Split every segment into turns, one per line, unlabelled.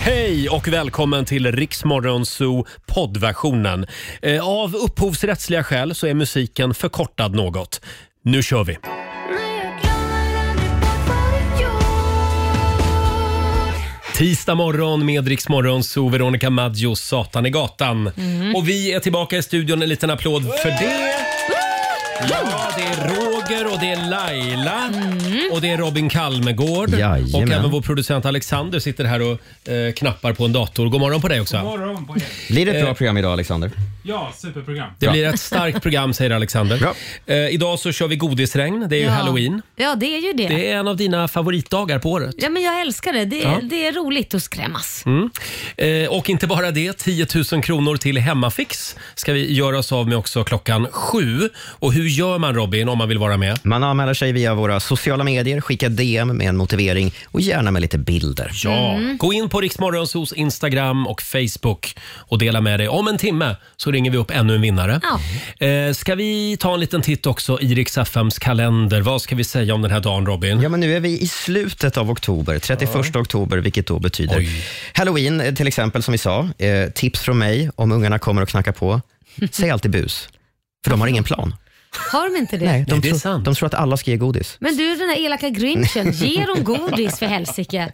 Hej och välkommen till Riksmorgonzoo poddversionen. Eh, Av upphovsrättsliga skäl så är musiken förkortad något. Nu kör vi! Tisdag morgon med Riksmorgonzoo, Veronica Maggio, Satan i gatan. Och vi är tillbaka i studion, en liten applåd för det. Ja, det är Roger och det är Laila och det är Robin Kalmegård.
Jajamän.
Och även vår producent Alexander sitter här och eh, knappar på en dator. God morgon på dig också.
morgon på er.
Blir det ett bra program idag Alexander?
Ja, superprogram.
Det blir ett starkt program säger Alexander.
Bra.
Eh, idag så kör vi godisregn, det är ju halloween.
Ja, det är ju det.
Det är en av dina favoritdagar på året.
Ja, men jag älskar det. Det,
Ja.
det är roligt att skrämmas.
Mm. Eh, och inte bara det, 10 000 kronor till Hemmafix ska vi göra oss av med också klockan sju. Och hur gör man Robin om man vill vara med?
Man anmäler sig via våra sociala medier, skicka DM med en motivering och gärna med lite bilder.
Ja,
Mm.
gå in på Riksmorgonsos Instagram och Facebook och dela med dig. Om en timme så ringer vi upp ännu en vinnare. Eh, ska vi ta en liten titt också i Rix FMs kalender? Vad ska vi säga om den här dagen Robin?
Ja, men nu är vi i slutet av oktober, 31 oktober, vilket då betyder
Oj.
Halloween eh, till exempel, som vi sa. Eh, tips från mig om ungarna kommer och knackar på. Säg alltid bus, för de har ingen plan.
Har de inte det?
Nej, de,
Nej, det är
tror-
sant.
de tror att alla ska ge godis.
Men du, den här elaka grinchen, ge dem godis för helsike.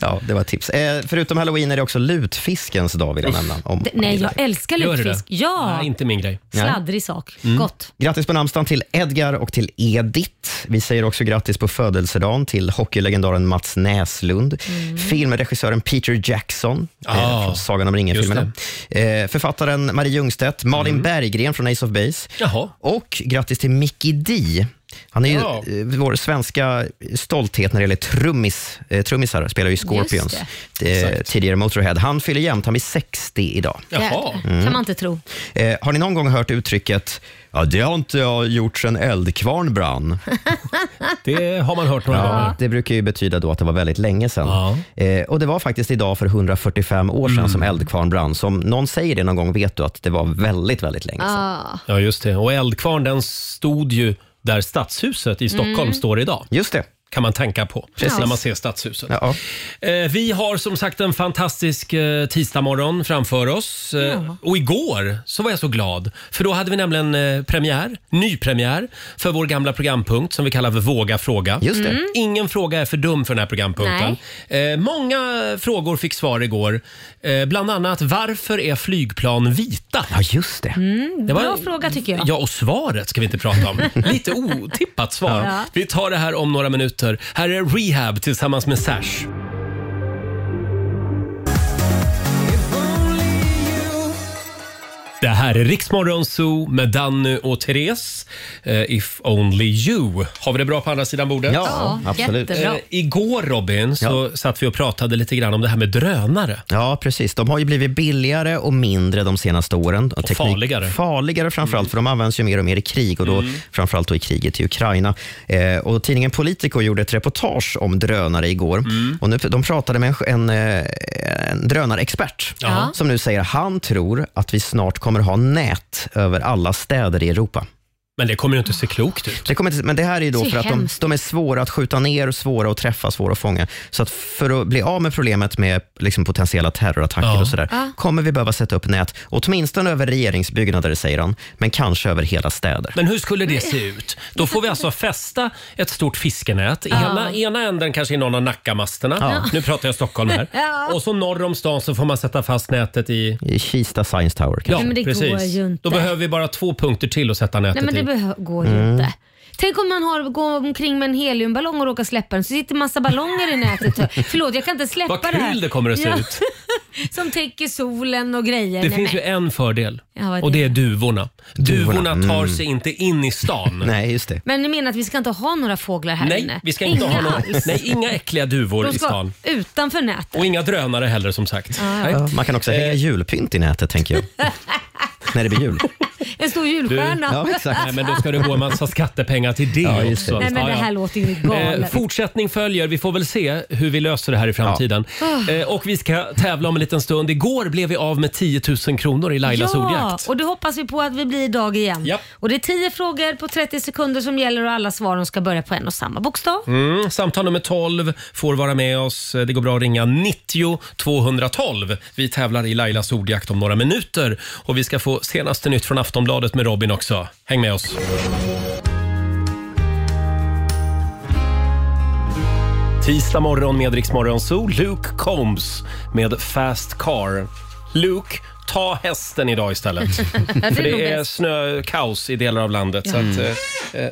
Ja, det var ett tips. Eh, förutom halloween är det också lutfiskens dag, vill jag nämna. Om
D- Nej, jag älskar
Gör du
lutfisk.
det?
Ja,
Nej, inte Mm. min grej.
sladdrig sak. Gott.
Grattis på namnsdagen till Edgar och till Edith. Vi säger också grattis på födelsedagen till hockeylegendaren Mats Näslund, filmregissören Peter Jackson
Mm. Ah,
eh, från Sagan om ringen-filmerna,
just Mm.
eh, författaren Marie Ljungstedt, Malin Berggren från Ace of Base
Jaha.
och grattis till Mickey D. Han är ju
Ja.
eh, vår svenska stolthet när det gäller trummis, eh, trummisar, spelar ju i Scorpions, eh, tidigare Motorhead. Han fyller jämnt, han blir 60 idag.
Jaha.
Jäklar, kan man inte tro.
Eh, har ni någon gång hört uttrycket Ja, det har inte jag gjort sen eldkvarn brann.
Det har man hört några gånger.
Ja, det brukar ju betyda då att det var väldigt länge sedan.
Ja.
Eh, och det var faktiskt idag för 145 år sedan som eldkvarn brann. Så om någon säger det någon gång vet du att det var väldigt, väldigt länge sedan.
Ja, just det. Och Eldkvarn den stod ju där Stadshuset i Stockholm står idag.
Just det.
Kan man tänka på
Mm. Precis.
när man ser Stadshuset.
Ja, ja.
Eh, vi har som sagt en fantastisk eh, tisdagmorgon framför oss. Eh, Och igår så var jag så glad. För då hade vi nämligen eh, premiär, nypremiär, för vår gamla programpunkt som vi kallar för Våga fråga. Mm.
Just det.
Ingen fråga är för dum för den här programpunkten. Eh, många frågor fick svar igår. Eh, bland annat, varför är flygplan vita?
ja just det.
Det var-
Bra fråga tycker jag.
Ja, och svaret ska vi inte prata om. Lite otippat svar.
Ja.
Vi tar det här om några minuter. Här är Rehab tillsammans med Sash. Det här är Riksmorgon Zoo med Danny och Therese. Eh, If only you. Har vi det bra på andra sidan bordet?
Ja,
Ja,
absolut.
jättebra.
Eh, igår Robin så satt vi och pratade lite grann om det här med drönare.
Ja, precis. De har ju blivit billigare och mindre de senaste åren. Och
farligare.
Farligare framförallt, för de används ju mer och mer i krig och då framförallt då i kriget i Ukraina. Eh, och tidningen Politico gjorde ett reportage om drönare igår. Och nu, de pratade med en, en, eh, en drönarexpert
Ja.
som nu säger han tror att vi snart kommer ha nät över alla städer i Europa.
Men det kommer ju inte se klokt ut.
Det kommer inte, men det här är ju då
Det är
för att de,
hemskt.
de är svåra att skjuta ner, svåra att träffa, svåra att fånga. Så att för att bli av med problemet med liksom potentiella terrorattacker
Ja.
och sådär, kommer vi behöva sätta upp nät, åtminstone över regeringsbyggnader, säger han, men kanske över hela städer.
Men hur skulle det se ut? Då får vi alltså fästa ett stort fiskenät. Ena, ena änden kanske i någon av Nackamasterna. Nu pratar jag Stockholm här.
Ja.
Och så norr om stan så får man sätta fast nätet i...
I Kista Science Tower kanske.
Ja,
men det går
precis.
ju inte.
Då behöver vi bara två punkter till att sätta nätet
Nej, men det
i.
behö- går ju
Mm.
inte. Tänk om man har, går omkring med en heliumballong och råkar släppa den så sitter massa ballonger i nätet. Förlåt, jag kan inte släppa
Vad
det här.
kul det kommer att se
Ja,
ut.
Som täcker solen och grejer.
Det
Nej,
finns
men-
ju en fördel
Ja, vad är
och
det?
det är duvorna. Duvorna
Duvorna,
tar sig inte in i stan.
Nej, just det.
Men ni menar att vi ska inte ha några fåglar här
Nej,
inne?
vi ska inte
inga
ha någon,
alls.
nej, inga äckliga duvor
De
i
ska
stan.
utanför nätet.
Och inga drönare heller som sagt. Nej. Eh.
Ja, Man kan också hänga julpynt i nätet, tänker jag. När det blir jul.
En stor julstjärna.
Ja, exakt.
Nej, men då ska du få en massa skattepengar till det
Ja, just det.
också.
Nej men
Ja,
det
ja.
här låter ju
Eh,
galet.
fortsättning följer. Vi får väl se hur vi löser det här i framtiden. Eh, och vi ska tävla om en liten stund. Igår blev vi av med 10 000 kronor i Lailas
Ja,
ordjakt.
och det hoppas vi på att vi blir idag igen.
Japp.
Och det är 10 frågor på 30 sekunder som gäller och alla svaren ska börja på en och samma bokstav.
Mm, samtal nummer 12 får vara med oss. Det går bra att ringa 90 212. Vi tävlar i Lailas ordjakt om några minuter. Och vi ska få senaste nytt från Aftonbladet med Robin också. Häng med oss. 'Tisdag morgon med Rix Morgon Zoo. Luke Combs med Fast Car. Luke, ta hästen idag istället. För
nog
det är
bäst.
snökaos i delar av landet. Så att, eh, eh,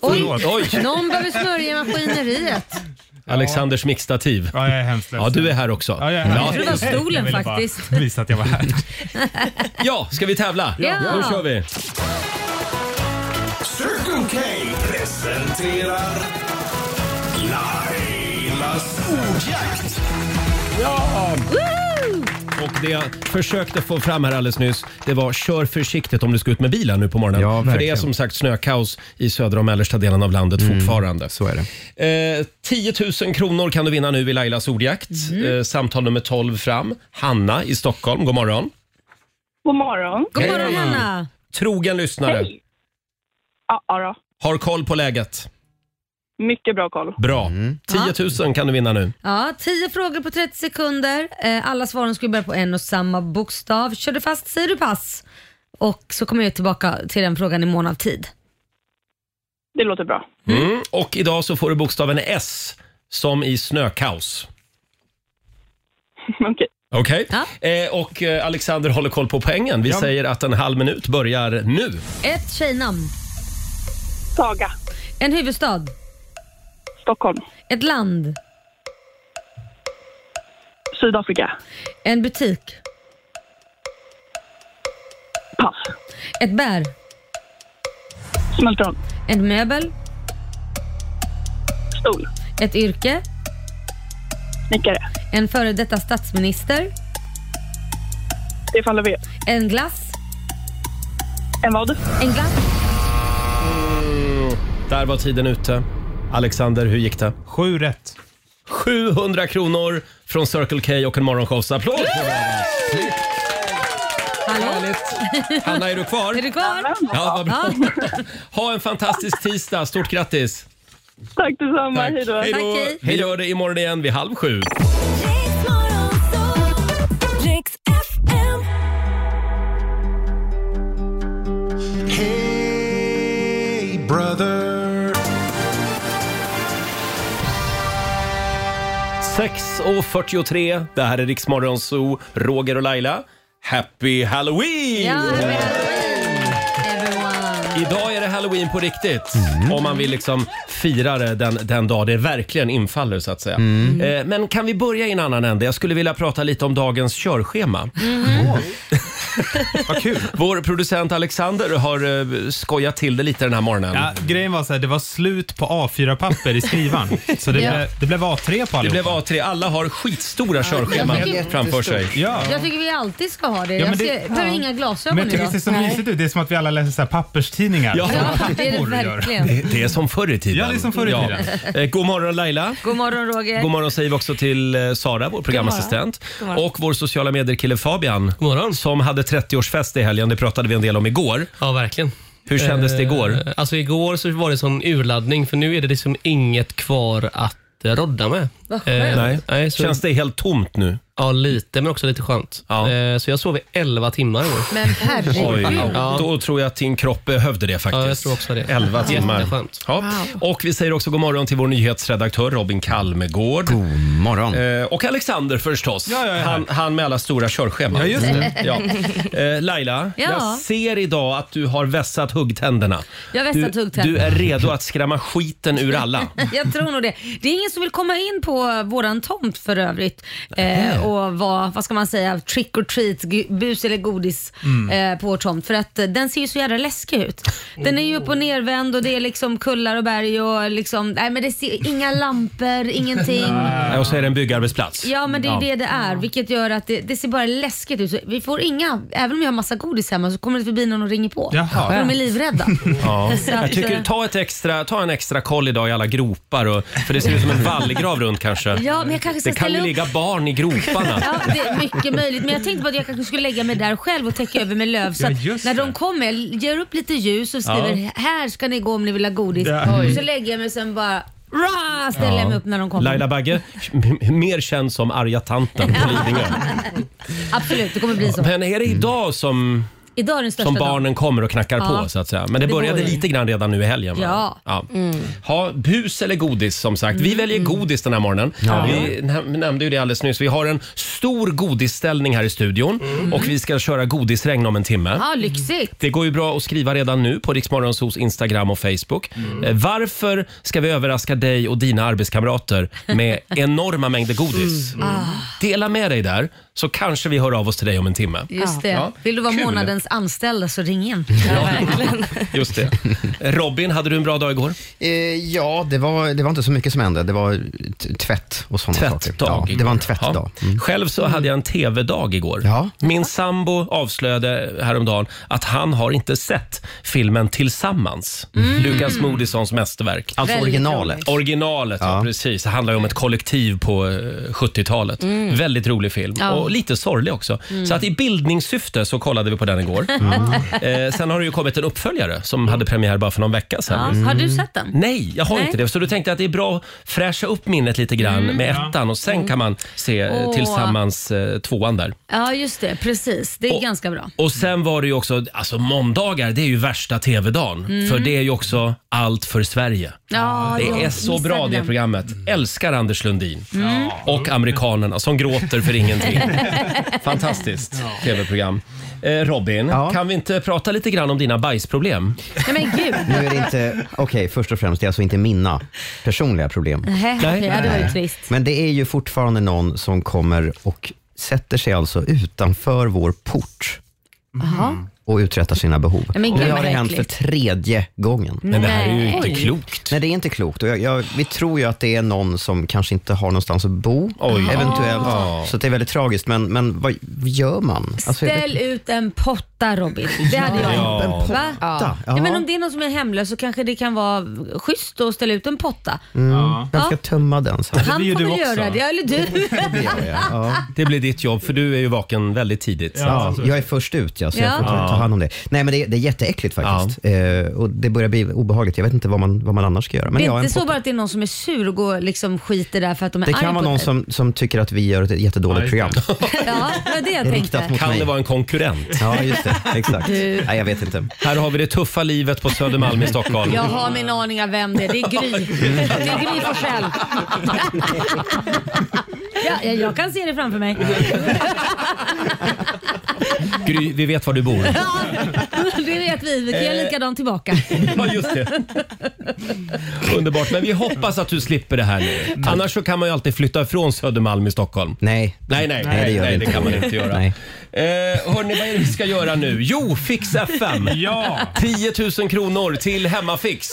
Oj,
förlåt. Oj!
någon behöver smörja maskineriet.
Alexanders mixtativ.
Ja, jag är hemskt
Ja, du är här också.
Ja, jag är
Jag
här.
tror det var stolen
ville
faktiskt.
Bara visa att jag var här.
Ja, ska vi tävla?
Ja.
Nu kör vi!
Circle K presenterar Lailas ordjakt.
Och det jag försökte få fram här alldeles nyss, det var kör försiktigt om du ska ut med bilen nu på morgonen.
Ja,
För det är
verkligen. Mm,
som sagt snökaos i södra och mellersta delen av landet fortfarande.
Så är det.
Eh, 10 000 kronor kan du vinna nu i Lailas ordjakt.
Mm.
Eh, samtal nummer 12 fram. Hanna i Stockholm, god morgon.
God morgon.
God morgon Hanna.
Trogen lyssnare.
Hej. Ja, ja då.
Har koll på läget.
Mycket bra koll.
Bra. 10 000 kan du vinna nu.
Ja, 10 frågor på 30 sekunder. Eh, Alla svaren skulle börja på en och samma bokstav. Kör du fast säger du pass. Och så kommer jag tillbaka till den frågan i mån av tid.
Det låter bra.
Mm. Och idag så får du bokstaven S som i snökaos.
Okej.
Okej.
Ja.
Eh, och eh, Alexander håller koll på poängen. Vi säger att en halv minut börjar nu.
Ett tjejnamn.
Saga.
En huvudstad.
Stockholm.
Ett land.
Sydafrika.
En butik.
Pass.
Ett bär.
Smultron.
En möbel.
Stol.
Ett yrke.
Snickare.
En före detta statsminister.
Stefan Löfven.
En glass.
En vad?
En glass.
Där var tiden ute. Alexander, hur gick det?
Sju rätt.
700 kronor från Circle K och en morgonshowsapplåd.
Hallå?
Härligt. Hanna, är du kvar?
Är du kvar?
Ja, vad bra.
Ja,
Ha en fantastisk tisdag. Stort grattis!
Tack detsamma. Hej då.
Hej
Tack,
då!
hej.
Vi gör det imorgon igen vid halv sju.
Riks FM.
Hey brother.
6.43. Det här är Riksmorgon Zoo. Roger och Laila. Happy Halloween!
ja happy Halloween, everyone.
Idag är det halloween på riktigt.
Mm.
Om man vill liksom fira det den, den dag det verkligen infaller så att säga.
Mm.
Eh, men kan vi börja i en annan ände? Jag skulle vilja prata lite om dagens körschema.
Mm. Vad kul.
Vår producent Alexander har eh, skojat till det lite den här morgonen.
Ja, grejen var så här, det var slut på A4-papper i skrivan. Så det,
Ja.
blev, det blev A3 på
Det
allihopa.
blev A3. Alla har skitstora körscheman
jättestort.
framför sig.
Ja.
Jag tycker vi alltid ska ha det.
Ja,
Jag
men det-
ser, behöver
ja.
inga
Men
glasögon
jag tycker
idag.
det ser så mysigt ut. Det är som att vi alla läser så här papperstidningar.
Ja.
Ja, det är det
Morgon gör.
verkligen.
Det- Det är som förr i tiden.
Ja, det är som förr i
Eh, God morgon Laila.
God morgon Roger.
God morgon säger vi också till eh, Sara, vår programassistent. Och vår sociala medier-kille Fabian.
God morgon.
Som hade 30-årsfest i helgen. Det pratade vi en del om igår.
Ja, verkligen.
Hur kändes det igår?
Eh, Alltså igår så var det sån urladdning för nu är det liksom inget kvar att eh, rodda med.
Vad
Eh,
skönt.
Nej.
nej så,
Känns det helt tomt nu?
Ja, lite, men också lite skönt.
Ja.
Eh, så jag sov i 11 timmar igår.
Men herregud.
Ja.
Då tror jag att din kropp behövde det faktiskt.
Ja, jag tror också det.
11 timmar.
Jätteskönt.
Ja. Och vi säger också god morgon till vår nyhetsredaktör Robin Kalmegård.
God morgon.
Eh, Och Alexander förstås.
Ja, jag är här.
han, han med alla stora körscheman. Mm.
Ja, just det.
Ja. Eh, Laila,
Ja.
jag ser idag att du har vässat huggtänderna.
Jag har vässat
du,
huggtänderna.
Du är redo att skrämma skiten ur alla.
Jag tror nog det. Det är ingen som vill komma in på våran tomt för övrigt. Eh, eh, och vara, vad ska man säga, trick or treat, gu- bus eller godis
Mm.
eh, på vår tomt. För att eh, den ser ju så jävla läskig ut. Den är ju
Oh.
upp och nervänd och det är liksom kullar och berg och liksom, nej men det ser, inga lampor, ingenting.
Nej, Och så är det en byggarbetsplats.
Ja men det är ju det det är, vilket gör att det, det ser bara läskigt ut. Så Vi får inga, även om vi har massa godis hemma så kommer det förbi någon och ringer på.
Jaha.
För de är livrädda.
Ja.
Så att,
Jag tycker,
eh,
ta, ett extra, ta en extra koll idag i alla gropar, och, för det ser ut som en vallgrav runt kanske.
Ja, men jag kanske ska
det kan ju
ställa upp-
ligga barn i groparna.
Ja, det är mycket möjligt. Men jag tänkte på att jag kanske skulle lägga mig där själv och täcka över med löv. Så
Ja,
att
just
när
det.
de kommer, jag ger upp lite ljus och skriver “Här ska ni gå om ni vill ha godis”. Och så lägger jag mig och sen bara Rah! ställer jag mig upp när de kommer.
Laila Bagge, m- mer känd som arga tanten på Lidingö.
Absolut, det kommer bli så.
Men är det idag som,
Idag är den största
som
dagen.
barnen kommer och knackar
Ja.
på? så att säga? Men det,
Det
började
börjar.
lite grann redan nu i helgen. va?
Ja. Mm.
Ja. Ha, bus eller godis som sagt. Vi väljer godis den här morgonen. Vi näm- nämnde ju det alldeles nyss. Vi har en stor godisställning här i studion och vi ska köra godisregn om en timme.
Mm. Ja, lyxigt.
Det går ju bra att skriva redan nu på Riksmorgonsos Instagram och Facebook.
Mm.
Eh, Varför ska vi överraska dig och dina arbetskamrater med enorma mängder godis?
Mm. Ah.
Dela med dig där, så kanske vi hör av oss till dig om en timme.
Just det.
Ja.
Vill du vara
Kul.
månadens anställda så ring in.
Just det. Robin, hade du en bra dag igår?
Eh, ja, det var, det var inte så mycket som hände. Det var t- tvätt och sådana saker.
Tvättdag.
Ja, det var en
igår.
tvättdag. Mm.
Ja. Själv så hade jag en TV-dag igår.
Ja.
Min sambo avslöjade häromdagen att han har inte sett filmen Tillsammans, Lukas Moodyssons mästerverk.
Alltså
Väldigt
originalet.
roligt.
Originalet, ja. precis. Det handlar ju om ett kollektiv på eh, 70-talet. Väldigt rolig film och lite sorglig också. Så att i bildningssyfte så kollade vi på den igår. Eh, sen har det ju kommit en uppföljare som hade premiär bara för någon vecka
Ja.
sedan.
Har du sett den?
Mm. Nej, jag har
Nej. Mm.
inte det. Så du tänkte jag att det är bra att fräscha upp minnet lite grann med ettan och sen kan man se eh,
Åh.
tillsammans eh, tvåan där.
Ja, just det. Precis. Det är ganska bra.
Och sen var det ju också, alltså måndagar det är ju värsta tv-dagen. För det är ju också Allt för Sverige.
Mm. Ja, Mm. jag
Det är så
missade
bra det
den.
programmet. Älskar Anders Lundin. Och amerikanerna som gråter för ingenting. Fantastiskt tv-program. Eh, Robin,
Ja.
kan vi inte prata lite grann om dina bajsproblem?
Nej men gud.
Nu är det inte... Okej, först och främst, det är alltså inte mina personliga problem.
Nej, okej, ja, det var ju trist.
Men det är ju fortfarande någon som kommer och sätter sig alltså utanför vår port
Jaha.
och uträttar sina behov.
Men gud,
Och det har
vad
hänt för
äckligt.
tredje gången.
Men det här är ju inte
Nej.
klokt.
Nej, det är inte klokt. Och jag, jag, vi tror ju att det är någon som kanske inte har någonstans att bo,
Oj.
eventuellt.
Ja.
Så det är väldigt tragiskt. Men, men vad gör man? Alltså, jag vet-
Ställ ut en potta Robin. Det hade jag
Ja.
gjort. Va?
Ja.
Ja, men om det är någon som är hemlös så kanske det kan vara schysst att ställa ut en potta.
Mm.
Ja.
Jag ska tömma den sen.
Han
blir ju
får
du
väl
också.
göra det, eller du.
Det blir ditt jobb för du är ju vaken väldigt tidigt.
Ja, jag är först ut ja, så jag
Ja.
får ta ta hand om det. Nej men det, det är jätteäckligt faktiskt. Eh, och det börjar bli obehagligt. Jag vet inte vad man, vad man annars ska göra. Men
det
jag
är
har en
inte så
potta.
bara att det är någon som är sur och går liksom skiter där för att de är
det
arg
kan vara
på
någon
dig.
som, som tycker att vi gör ett jättedåligt
Ja,
program.
just
Ja, det var det jag
Riktat
tänkte.
mot
Kan
mig.
det vara en konkurrent?
Ja, just det. Exakt. Nej, jag vet inte.
Här har vi det tuffa livet på Södermalm i Stockholm.
Jag har min aning av vem det är. Det är Gry. Det är Gry Forssell. Ja, jag, jag kan se det framför mig.
Gry, vi vet var du bor.
Ja, det vet vi. Vi kan göra likadant tillbaka.
Ja, just det. Underbart, men vi hoppas att du slipper det här nu. Annars så kan man ju alltid flytta ifrån Södermalm i Stockholm.
Nej.
Nej, nej,
Nej, det
nej,
gör
nej,
vi
det
inte.
kan man inte göra.
Nej.
Eh, hörni, vad är det vi ska göra nu? Jo, Fix FM!
Ja.
10 000 kronor till Hemmafix!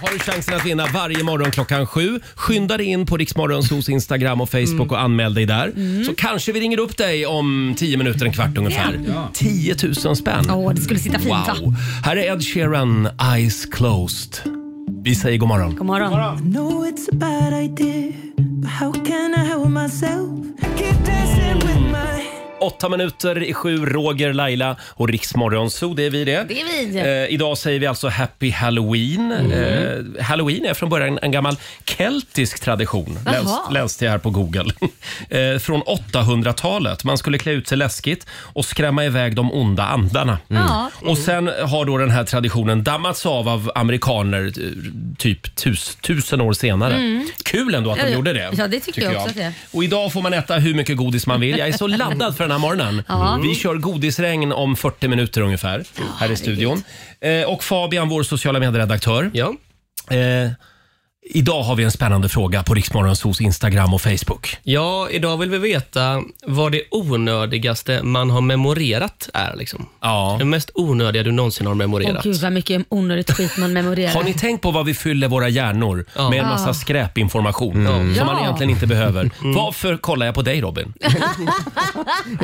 Har du chansen att vinna varje morgon klockan sju. Skynda dig in på Riksmorgonsos Instagram och Facebook
Mm.
och anmäl dig där. Så kanske vi ringer upp dig om 10 minuter, en kvart ungefär. 10 000 spänn!
Åh, det skulle sitta fint va?
Wow. Här är Ed Sheeran, Eyes Closed. Vi säger god morgon.
God morgon.
No, it's a bad idea, but how can I help myself? Keep dancing with my
Åtta minuter i sju, Roger, Laila och Riksmorgon Zoo, det är vi det.
Det är vi. Mm.
Eh, idag säger vi alltså happy halloween. Eh, halloween är från början en gammal keltisk tradition, läs,
Jaha.
läste jag här på Google. eh, från 800-talet. Man skulle klä ut sig läskigt och skrämma iväg de onda andarna. Mm.
Ja. Mm.
Och sen har då den här traditionen dammats av av amerikaner eh, typ tus, tusen år senare. Kul ändå att de
Mm. Ja, ja.
gjorde det.
Ja, det tyckte jag också att det är.
Och idag får man äta hur mycket godis man vill. Jag är så laddad för den här morgonen.
Ja.
Vi kör godisregn om 40 minuter ungefär här i studion. Eh, och Fabian, vår sociala medieredaktör.
Ja.
Eh, Idag har vi en spännande fråga på Riksmorgonsos Instagram och Facebook.
Ja, idag vill vi veta vad det onödigaste man har memorerat är. Liksom.
Ja.
Det mest onödiga du någonsin har
Åh
memorerat.
gud vad mycket onödigt skit man memorerar.
Har ni tänkt på vad vi fyller våra hjärnor med en massa skräpinformation
Mm.
som man
Ja.
egentligen inte behöver? Varför kollar jag på dig Robin?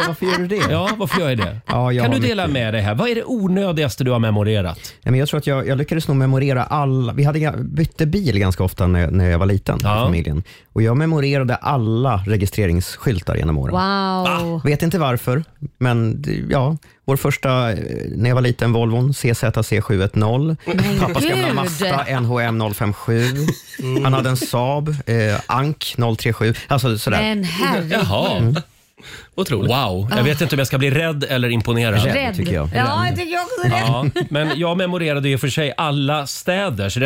Varför gör du det?
Ja, varför gör jag det?
Ja, jag
kan du
har
dela med dig här? Vad är det onödigaste du har memorerat?
Nej, men jag tror att jag, jag lyckades nog memorera alla. Vi hade, ga- bytte bil ganska ofta när, när jag var liten
Ja.
i familjen. Och jag memorerade alla registreringsskyltar genom åren.
Wow.
Vet inte varför, men det- ja. Vår första, eh, när jag var liten, Volvon CZC 710. Pappas gamla
gud.
Mazda NHM 057. Han hade en Saab, eh, Ank 037. Alltså sådär.
Men herregud.
Jaha,
Otroligt.
wow. Jag vet inte om jag ska bli rädd eller imponerad.
Rädd.
Rädd.
tycker jag.
Ja, jag tycker också det.
Ja, men jag memorerade ju för sig alla städers,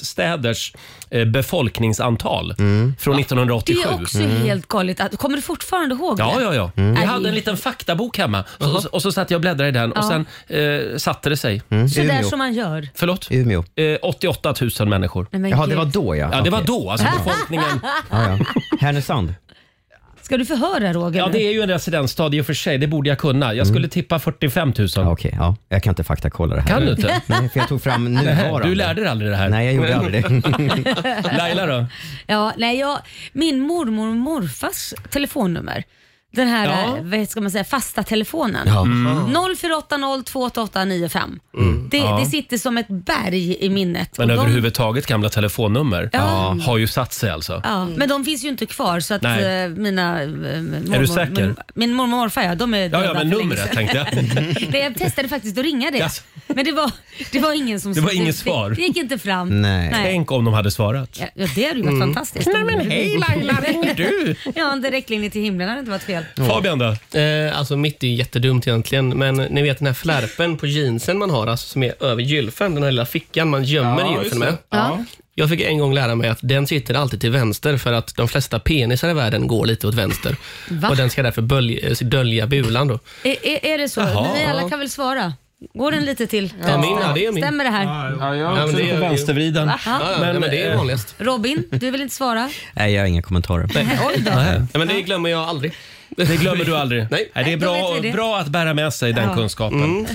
residensstäders eh, befolkningsantal
Mm.
från 1987.
Det är också helt galet. att- Kommer du fortfarande ihåg
Mm. Ja,
det?
ja, ja. Jag hade en liten faktabok hemma och, så, och så satt jag och bläddrade i den och sen eh, satte det sig.
Så där
Umeå.
som man gör.
Förlåt?
Umeå.
Eh, 88 000 människor.
Nej, men
Jaha, det
gud.
var då ja.
Ja, det var
Okej.
då. Alltså befolkningen.
Ja, ja. Härnösand.
Ska du förhöra Roger?
Ja,
nu?
det är ju en residensstad i och för sig. Det borde jag kunna. Jag skulle tippa 45 000.
Mm. Ja, Okej, ja. jag kan inte faktakolla det här.
Kan du inte?
Nej, för jag tog fram nuvarande.
Du lärde dig aldrig det här.
Nej, jag gjorde aldrig det.
Laila då?
Ja, nej, jag, min mormor och morfars telefonnummer. Den här
Ja.
eh, vad ska man säga, fasta telefonen.
Ja.
0480 28895.
Mm.
Det, det sitter som ett berg i minnet.
Men
Och de-
överhuvudtaget gamla telefonnummer
Ja.
har ju satt sig alltså.
Ja, men de finns ju inte kvar så att
Nej.
eh, mina... eh, mormor,
säker?
Min, min mormor och morfar ja, de är
Ja,
döda
ja, men
för länge
numret
sedan.
tänkte jag.
Nej, jag testade faktiskt att ringa det.
Jaså?
Men det var, det var ingen som
Det var inget svar.
Det, det gick inte fram.
Nej.
Tänk om de hade svarat.
Ja, ja, det hade ju varit fantastiskt. Nej, men hej Laila, ringer
du?
Ja, en direktlinje till himlen hade inte varit fel.
Fabian då?
Eh, alltså mitt är ju jättedumt egentligen, men ni vet den här flärpen på jeansen man har, alltså som är över gylfen, den här lilla fickan man gömmer gylfen med.
Ja.
Jag fick en gång lära mig att den sitter alltid till vänster för att de flesta penisar i världen går lite åt vänster.
Va?
Och den ska därför bölj, eh, dölja bulan då.
Är, är, är det så?
Jaha.
Ni alla kan väl svara? Går den lite till?
Ja, min, ja, det är min.
Stämmer det här?
Ja,
Ja, men det är-
vänstervriden.
Ja, ja, men, men det är
eh,
vanligast.
Robin, du vill inte svara?
Nej, jag har inga kommentarer.
Oj då.
Ja, men det glömmer jag aldrig.
Det glömmer du aldrig.
Nej.
det
då
är bra,
vet vi det.
bra att bära med sig den
Ja. Mm.
kunskapen.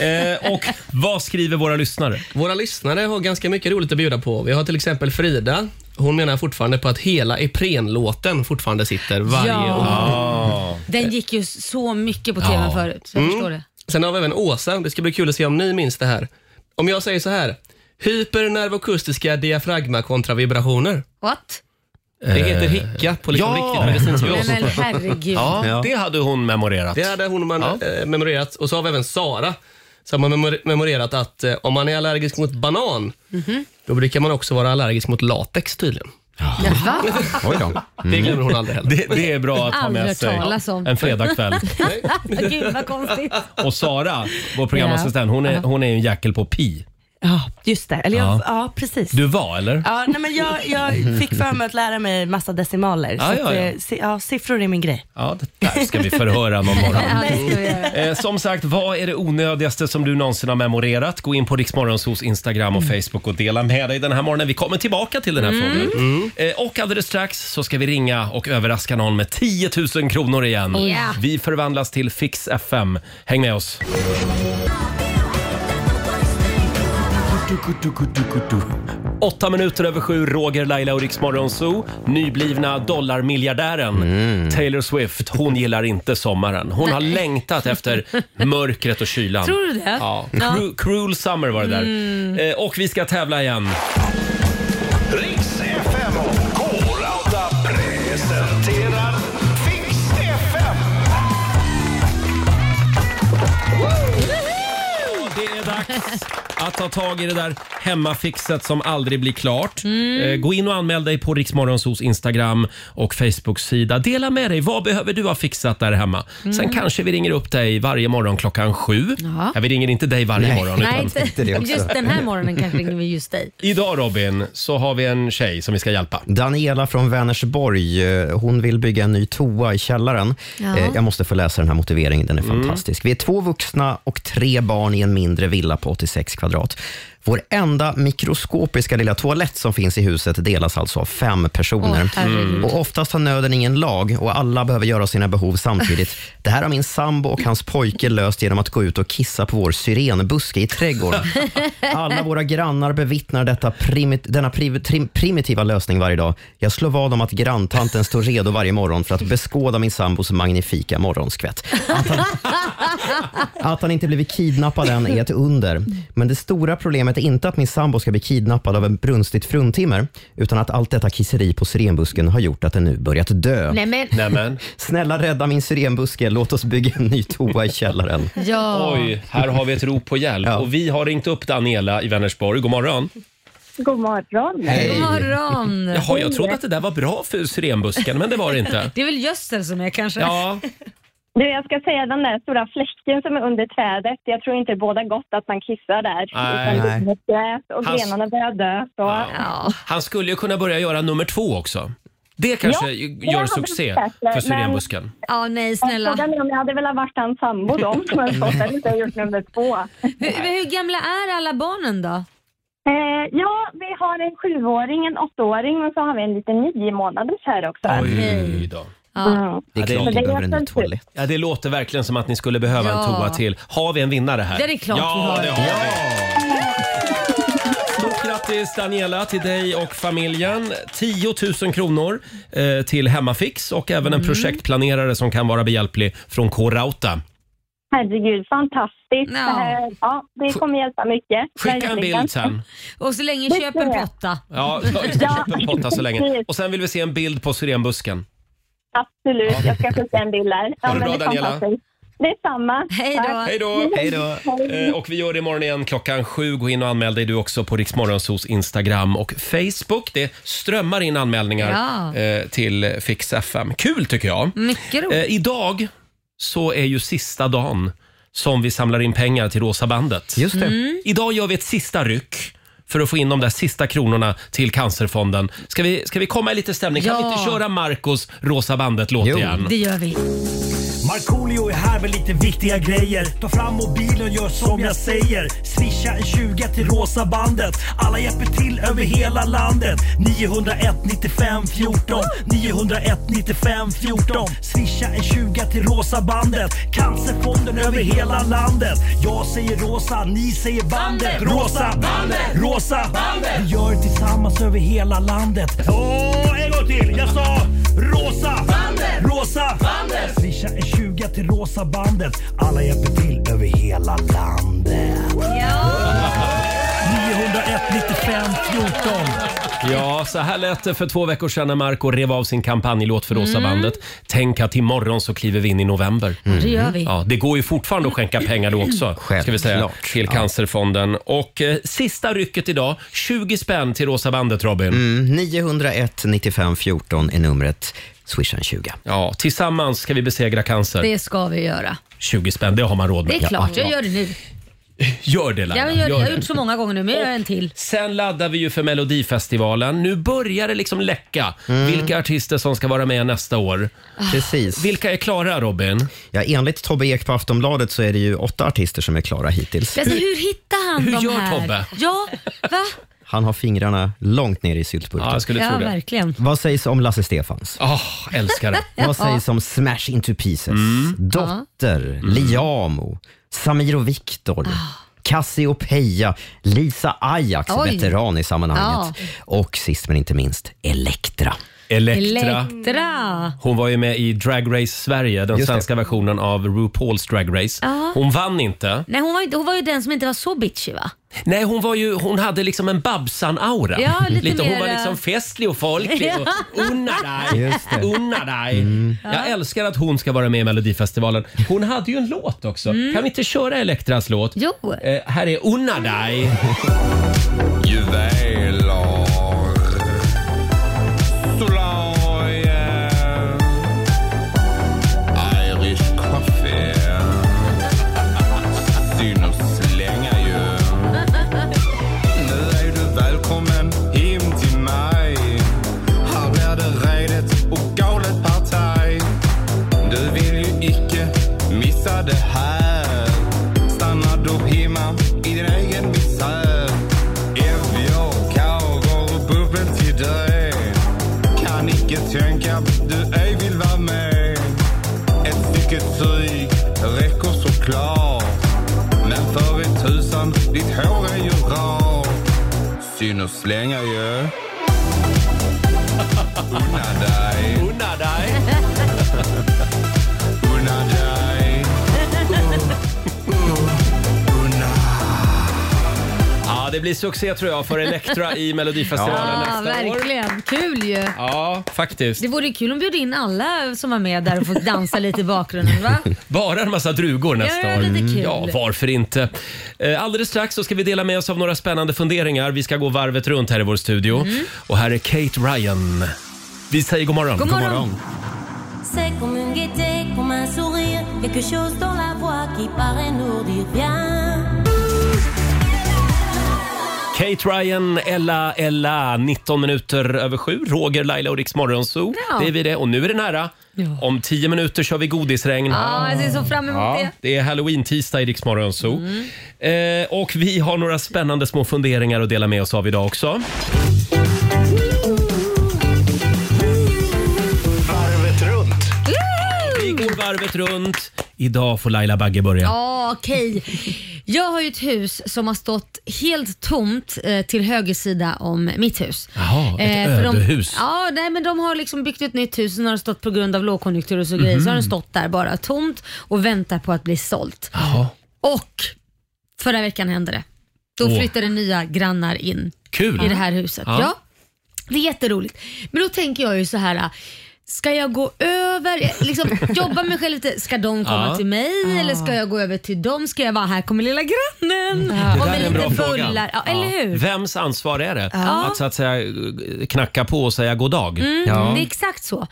Eh, och vad skriver våra lyssnare?
Våra lyssnare har ganska mycket roligt att bjuda på. Vi har till exempel Frida. Hon menar fortfarande på att hela Ipren-låten fortfarande sitter varje
Ja.
år. Ah.
Eh,
Den gick ju så mycket på tv
Ja.
förut, så jag förstår det.
Sen har vi även Åsa. Det ska bli kul att se om ni minns det här. Om jag säger så här. Hypernervokustiska diafragmakontravibrationer.
What?
Det heter hicka på liksom
ja.
riktigt medicinskt
Nej,
språk.
men herregud.
Ja, det hade hon memorerat.
Det hade hon man, eh, memorerat. Och så har vi även Sara som har memor- memorerat att eh, om man är allergisk mot banan, då brukar man också vara allergisk mot latex tydligen.
Oj då.
Mm. Det glömmer hon aldrig heller.
Det, det är bra att ha
Aldrig
med
hört
sig
talas om.
en fredagkväll.
Gud vad konstigt.
Och Sara, vår programassistent, hon är, hon är ju en jäkel på pi.
Ja, just det. Eller jag,
Ja.
ja. precis.
Du var, eller?
Ja, nej, men jag, jag fick för mig att lära mig massa decimaler.
Ja,
så
ja,
att,
ja.
eh, si- ja, siffror är min grej.
Ja, det där ska vi förhöra någon morgon.
Ja, det ska vi göra.
Eh, som sagt, vad är det onödigaste som du någonsin har memorerat? Gå in på Riksmorgonsos Instagram och Facebook och dela med dig den här morgonen. Vi kommer tillbaka till den här
Mm.
frågan. Eh, och alldeles strax så ska vi ringa och överraska någon med 10 000 kronor igen.
ja.
Vi förvandlas till Fix FM. Häng med oss. Åtta minuter över sju, Roger, Laila och Riksmorgon Zoo. Nyblivna dollarmiljardären
Mm.
Taylor Swift, hon gillar inte sommaren. Hon har längtat efter mörkret och kylan.
Tror du det?
Ja. Cru- cruel summer var det där. Eh, och vi ska tävla igen.
Riks FM och K-Rauta presenterar Fix FM.
Det är dags att ta tag i det där hemmafixet som aldrig blir klart. Eh, Gå in och anmäl dig på Riksmorgonsos Instagram och Facebook-sida. Dela med dig. Vad behöver du ha fixat där hemma? Sen kanske vi ringer upp dig varje morgon klockan sju.
Ja.
Ja, vi ringer inte dig varje
Nej.
morgon.
Nej,
Utan
inte,
det också.
just den här morgonen kanske ringer vi just dig.
idag Robin, så har vi en tjej som vi ska hjälpa.
Daniela från Vänersborg, eh, hon vill bygga en ny toa i källaren.
Ja.
Eh, Jag måste få läsa den här motiveringen, den är fantastisk. Vi är två vuxna och tre barn i en mindre villa på 86 kvadrat. Vår enda mikroskopiska lilla toalett som finns i huset delas alltså av fem personer.
Åh, herregud.
och oftast har nöden ingen lag och alla behöver göra sina behov samtidigt. Det här har min sambo och hans pojke löst genom att gå ut och kissa på vår syrenbuske i trädgården. Alla våra grannar bevittnar detta primit- denna priv- trim- primitiva lösning varje dag. Jag slår vad om att granntanten står redo varje morgon för att beskåda min sambos magnifika morgonskvätt. Att han inte blivit kidnappad än är ett under. Men det stora problemet är inte att min sambo ska bli kidnappad av en brunstigt fruntimmer, utan att allt detta kisseri på syrenbusken har gjort att den nu börjat dö.
Nej men,
Nämen.
Snälla rädda min syrenbuske, låt oss bygga en ny toa i källaren.
ja.
Oj, här har vi ett rop på hjälp.
Ja.
Och vi har ringt upp Daniela i Vänersborg. God morgon.
God morgon.
God morgon.
Jaha, jag trodde att det där var bra för syrenbusken, men det var det inte.
Det är väl gödsel som är kanske?
Ja,
Du, jag ska säga den där stora fläcken som är under trädet. Jag tror inte båda gott att man kissar där.
Nej.
Utan det är ett gräs och
Hans-
grenarna börjar dö. Så.
Ja.
han skulle ju kunna börja göra nummer två också. Det kanske
Ja, det
gör
hade
succé
varit bättre,
för
men-
syrenbusken.
ja, nej snälla.
Frågan är om jag hade velat varit hans sambo då, om jag fått den inte gjort nummer två.
Hur, hur gamla är alla barnen då?
Eh, ja, vi har en sjuåring, en åttaåring och så har vi en liten nio månaders här också.
Oj då.
Mm.
Det
Ja,
är
det-
klart
det
ni
är
behöver en ny
fullt ut.
toalett.
Ja, det låter verkligen som att ni skulle behöva en
Ja.
toa till. Har vi en vinnare här?
Ja, det är klart vi
ja,
har.
det har vi. Stort grattis Daniela till dig och familjen. 10 000 kronor eh, till Hemmafix och även en
Mm.
projektplanerare som kan vara behjälplig från K-Rauta.
Herregud, fantastiskt. Det,
Ja.
här, ja, det kommer hjälpa mycket.
Skicka en
Verkligen.
bild sen.
Och så länge
Det
köp en
tror jag.
potta.
Ja, jag ska
Ja,
köpa en potta så länge.
precis.
Och sen vill vi se en bild på syrenbusken.
Absolut, jag ska skicka en bild där. Ja,
det
men
bra,
det är
Daniela.
fantastiskt. Detsamma.
Hej då.
Tack.
Hej då!
Hej då!
Eh, Och vi gör det imorgon igen klockan sju. Gå in och anmäl dig du också på Riksmorgonsos Instagram och Facebook. Det strömmar in anmälningar
Ja. Mm.
eh, till Fix FM. Kul tycker jag!
Mycket roligt.
Eh, idag så är ju sista dagen som vi samlar in pengar till Rosa bandet.
Just det.
Idag gör vi ett sista ryck för att få in de där sista kronorna till Cancerfonden. Ska vi, ska vi komma i lite stämning? Kan
Ja.
vi inte köra Marcos Rosa bandet-låt
Jo.
igen?
Det gör vi.
Mm.
Markoolio är här med lite viktiga grejer. Ta fram mobilen och gör som jag säger. Swisha en 20 till rosa bandet. Alla hjälper till över hela landet. 901 95 14. 901 95 14. Swisha en 20 till rosa bandet. Cancerfonden över hela landet. Jag säger rosa, ni säger bandet. Rosa bandet, rosa bandet. Vi gör det tillsammans över hela landet. Åh, en gång till. Jag sa rosa bandet, rosa bandet. Swisha en 20 till rosa bandet. Alla hjälper till över hela landet. 901 95 14.
Ja, så här lät det för två veckor sedan när Marco rev av sin kampanjlåt för
Mm.
Rosa bandet. Tänk att imorgon så kliver vi in i november.
Det gör vi.
Ja, det går ju fortfarande att skänka pengar då också, ska vi säga,
Självklart.
till Cancerfonden. Och eh, sista rycket idag, 20 spänn till Rosa bandet, Robin.
Mm, 901 95 14 är numret. Swish en 20.
Ja, tillsammans ska vi besegra cancer.
Det ska vi göra.
20 spänn, det har man råd med.
Det är klart, jag
Ja,
gör det nu.
gör det Laila.
Jag, gör det. jag
Gör
har
det.
gjort så många gånger nu, men jag gör en till.
Sen laddar vi ju för Melodifestivalen. Nu börjar det liksom läcka
Mm.
vilka artister som ska vara med nästa år.
Precis.
Vilka är klara, Robin?
Ja, enligt Tobbe Ek på Aftonbladet så är det ju åtta artister som är klara hittills.
Alltså, hur hittar han
hur
de
gör
här?
Tobbe?
Ja, va?
Han har fingrarna långt ner i syltburken.
Ja, jag skulle
Ja,
tro det.
verkligen.
Vad sägs om Lasse Stefans?
Åh, älskar det.
Vad sägs om Smash Into Pieces? Dotter, Liamo, Samir och Viktor, Cassiopeia, Lisa Ajax,
Oj.
veteran i sammanhanget. Och sist men inte minst, Elektra.
Elektra.
Elektra.
Hon var ju med i Drag Race Sverige, den
Just det.
svenska versionen av RuPaul's Drag Race. Hon vann inte.
Nej, hon var, ju, hon var ju den som inte var så bitchig va?
Nej, hon, var ju, hon hade liksom en Babsan-aura.
Ja, lite
hon
mer,
var
eh,
liksom festlig och folklig. Och unna dig!
Just det. Mm.
Unna dig! Jag älskar att hon ska vara med i Melodifestivalen. Hon hade ju en låt också. Kan vi inte köra Elektras låt?
Mm. Jo.
Eh, här är Unna dig.
Juveler. Soleil. Irish coffee. Synd att slänga ju. Nu är du välkommen hem till mig. Här blir det redigt och galet partaj. Du vill ju icke missa det här. Stannar du hemma i din egen misär mycket tänka, du ej vill vara med. Ett stycke tyg räcker såklart. Men för i tusan, ditt hår är ju rart. Synd att slänga ju. Unna dig.
Unna dig.
Unna dig.
Ja, det blir succé tror jag för Elektra i Melodifestivalen
Ja,
Eh, nästa år.
verkligen. Kul ju.
Ja, faktiskt.
Det vore ju kul om bjöd in alla som var med där och fick dansa lite i bakgrunden. Va?
Bara en massa drugor nästa
Ja,
år.
lite kul.
Ja, varför inte? Eh, Alldeles strax så ska vi dela med oss av några spännande funderingar. Vi ska gå varvet runt här i vår studio.
Mhm.
Och här är Kate Ryan. Vi säger god morgon.
God morgon.
C'est comme une gaieté, comme un sourire, quelque chose dans la voix qui paraît nous dire bien.
Kate Ryan, Ella, Ella. 19 minuter över sju. Roger, Laila och Riks Morgonzoo.
Ja.
Det är vi det. Och nu är det nära. Om tio minuter kör vi godisregn.
Ja, jag ser så fram emot
Ja,
det.
det är halloween-tisdag i Rix Morgon Zoo.
Mm.
Eh, och vi har några spännande små funderingar att dela med oss av idag också.
Varvet runt.
Vi går varvet runt. Idag får Laila Bagge börja.
Ja, okej. Jag har ju ett hus som har stått helt tomt eh, till höger sida om mitt hus. Eh,
Jaha, ett
för de-
ödehus.
Ja, nej, men de har liksom byggt ett nytt hus och har det stått på grund av lågkonjunktur och så grejer. Så har
Mhm.
den stått där bara tomt och väntar på att bli sålt.
Jaha.
Och förra veckan hände det. Då
Åh.
flyttade nya grannar in
Kul.
i det här huset.
Ja.
Ja. det är jätteroligt. Men då tänker jag ju så här. Ska jag gå över, liksom, jobba mig själv lite, ska de komma
Ja.
till mig eller ska jag gå över till dem? Ska jag vara, här kommer lilla grannen.
Det
Och
där
med
är en
lite
bra fråga.
bullar. Ja, eller hur?
Vems ansvar är det att så att säga knacka på och säga god dag?
Mm,
Ja.
Det är exakt så.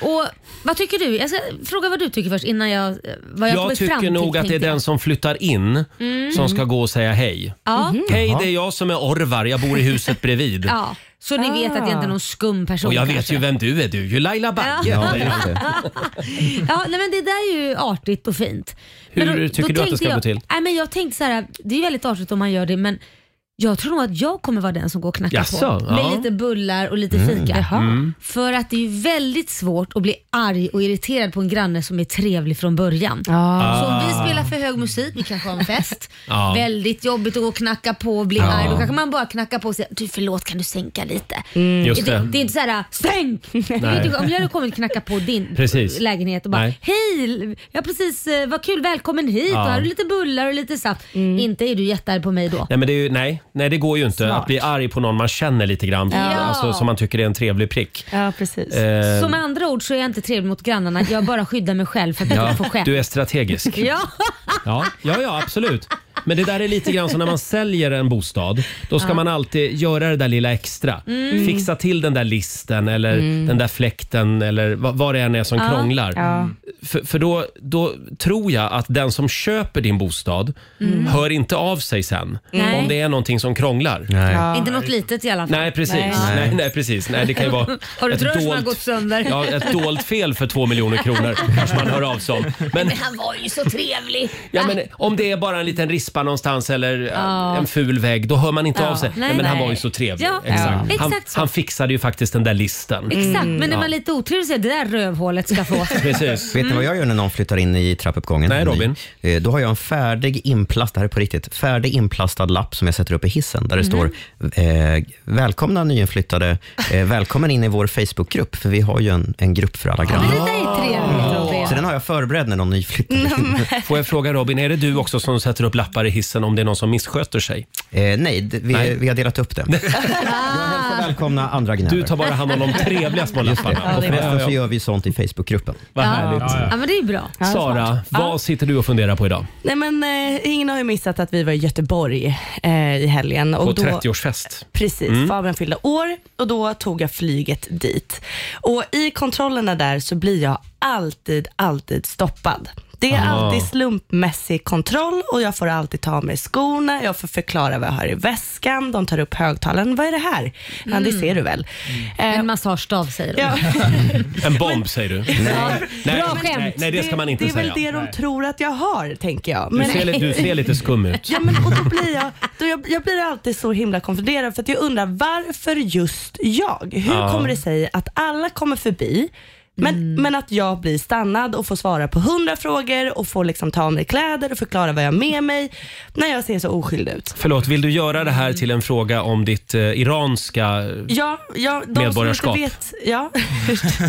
Och Vad tycker du? Jag ska fråga vad du tycker först innan jag... Vad jag,
Jag
kommit fram
tycker
till,
nog att det är
tänkte jag. Mm.
den som flyttar in som ska gå och säga hej.
Ja.
Hej, det är jag som är Orvar. Jag bor i huset bredvid.
ja. Så ni vet att det inte är någon skum person.
Ah. Och jag vet
kanske.
ju vem du är. Du är ju Laila Bagge.
Ja, det är just det.
Ja, nej, men det där är ju artigt och fint.
Hur
men
tycker du att det
tänkte
ska gå
jag,
till?
Nej, men jag tänkte så här, det är ju väldigt artigt om man gör det, men jag tror nog att jag kommer vara den som går och knackar
Jaså,
på.
ja. Mm.
Med lite bullar och lite fika. Mm. För att det är ju väldigt svårt att bli arg och irriterad på en granne som är trevlig från början. Så om vi spelar för hög musik, vi kanske har en fest.
Ja.
Väldigt jobbigt att gå och knacka på och bli arg. Då kanske man bara knackar på och säger du förlåt kan du sänka lite.
Just
Mm. Det,
det.
det är inte såhär stänk! Jag vet inte, typ Om jag hade kommit och knackat på din
Precis.
lägenhet och bara
Nej.
hej, ja precis, eh, vad kul, välkommen hit,
Ja.
har du lite bullar och lite saft.
Mm.
Inte är du jättearg på mig då.
Nej, men det är ju, nej, nej, det går ju inte att bli arg på någon man känner lite grann. Alltså, som man tycker är en trevlig prick.
Ja, precis.
Eh,
Så med andra ord så är jag inte trevlig mot grannarna, jag bara skyddar mig själv för att jag
ja,
inte får skämt.
du är strategisk.
Ja,
Ja, ja, ja, absolut. Men det där är lite grann som när man säljer en bostad. Då ska man alltid göra det där lilla extra. Fixa till den där listen eller den där fläkten eller vad, vad det än är som krånglar. För, för då, då tror jag att den som köper din bostad hör inte av sig sen
Nej.
om det är någonting som krånglar.
Nej.
inte något litet i alla fall.
Nej, precis. Nej.
Typ. Nej.
Nej, precis. Nej, det kan ju vara
Har du ett
ett,
rör som har
dolt,
gått sönder?
ja, ett dolt fel för två miljoner kronor kanske man hör av sig om. Men,
Men han var ju så trevlig.
ja, men om det är bara en liten rispa någonstans eller eh, en ful vägg, då hör man inte
Ja.
av sig. Nej,
Nej,
men han
nej.
var ju så trevlig.
Ja,
Exakt.
ja.
Han,
Exakt så.
han fixade ju faktiskt den där listen.
Exakt, men när man är lite otrevlig så är det där rövhålet ska få.
Precis.
Vet ni vad jag gör när någon flyttar in i trappuppgången?
Nej, Robin.
Eh, Då har jag en färdig inplastad, det här är på riktigt, färdig inplastad lapp som jag sätter upp i hissen där det
Mhm.
står eh, “Välkomna nyinflyttade, eh, välkommen in i vår Facebookgrupp” för vi har ju en, en grupp för alla
Men
grannar.
det där är trevligt Robin.
Så den har jag förberedd när någon nyflyttar in.
Får jag fråga Robin, är det du också som sätter upp lappar i hissen om det är någon som missköter sig?
Eh, nej, d- vi,
Nej.
vi har delat upp det. Jag hälsar välkomna andra
Du
gnällare.
tar bara hand om de trevliga små lapparna.
Och
Ja,
förresten
ja,
så
ja.
gör vi sånt i Facebookgruppen.
Vad härligt.
Ja, men det är ju bra.
Sara, vad sitter du och funderar på idag?
Nej, men, eh, ingen har ju missat att vi var i Göteborg eh, i helgen.
På
Och då,
30-årsfest?
Precis,
Mm.
Fabian fyllde år och då tog jag flyget dit. Och I kontrollerna där så blir jag alltid, alltid stoppad. Det är
Ah.
alltid slumpmässig kontroll och jag får alltid ta av mig skorna, jag får förklara vad jag har i väskan, de tar upp högtalaren. Vad är det här? Ja, det
Mm.
ser du väl. Eh, En
massagestav säger de.
En bomb säger du. Nej. Nej,
Bra skämt.
Nej, nej, det ska man inte
det,
säga.
Det är väl det de tror att jag har, tänker jag.
Du ser li- du ser lite skum ut.
Ja, men, och då blir jag, då jag, jag blir alltid så himla konfunderad för att jag undrar varför just jag? Hur
Ja.
kommer det sig att alla kommer förbi men,
Mm.
men att jag blir stannad och får svara på hundra frågor och får liksom ta av mig kläder och förklara vad jag har med mig när jag ser så oskyldig ut.
Förlåt, vill du göra det här till en fråga om ditt eh, iranska...
Ja, ja, de, som inte
Medborgarskap.
vet, ja,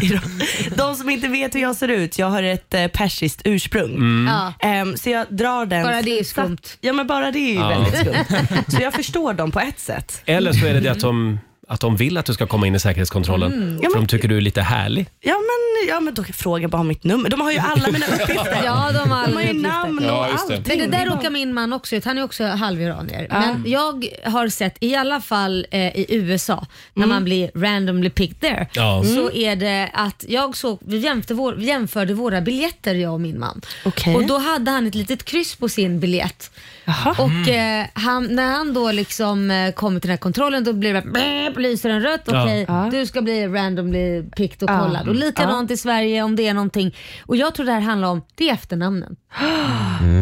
de som inte vet hur jag ser ut, jag har ett eh, persiskt ursprung.
Mm.
Ja.
Ehm, så jag drar den
Bara det är
skumt. Ja, men bara det är ju
Ja.
väldigt skumt. Så jag förstår dem på ett sätt.
Eller så är det det att de, att de vill att du ska komma in i säkerhetskontrollen.
Mm. Ja,
För
men-
de tycker du är lite härlig.
Ja men, ja, men då frågar bara om mitt nummer. De har ju alla mina uppgifter.
Ja, de har alla
ju
uppgifter.
namn och
Ja, just det.
allt.
Men det där råkar min man också ut. Han är också halviranier.
Ja.
Men jag har sett, i alla fall eh, i USA, när man blir randomly picked there,
Ja.
så
Mm.
är det att jag såg, vi jämförde, vår, vi jämförde våra biljetter jag och min man.
Okej.
Och då hade han ett litet kryss på sin biljett.
Ah.
Och
Mm.
eh, han, när han då liksom eh, kommer till den här kontrollen då blir det bara, lyser den rött.
Ja.
Okej,
Ja.
du ska bli randomly picked och
Ja.
kollad. Och likadant i Sverige om det är någonting. Och jag tror det här handlar om, det är efternamnen. Det är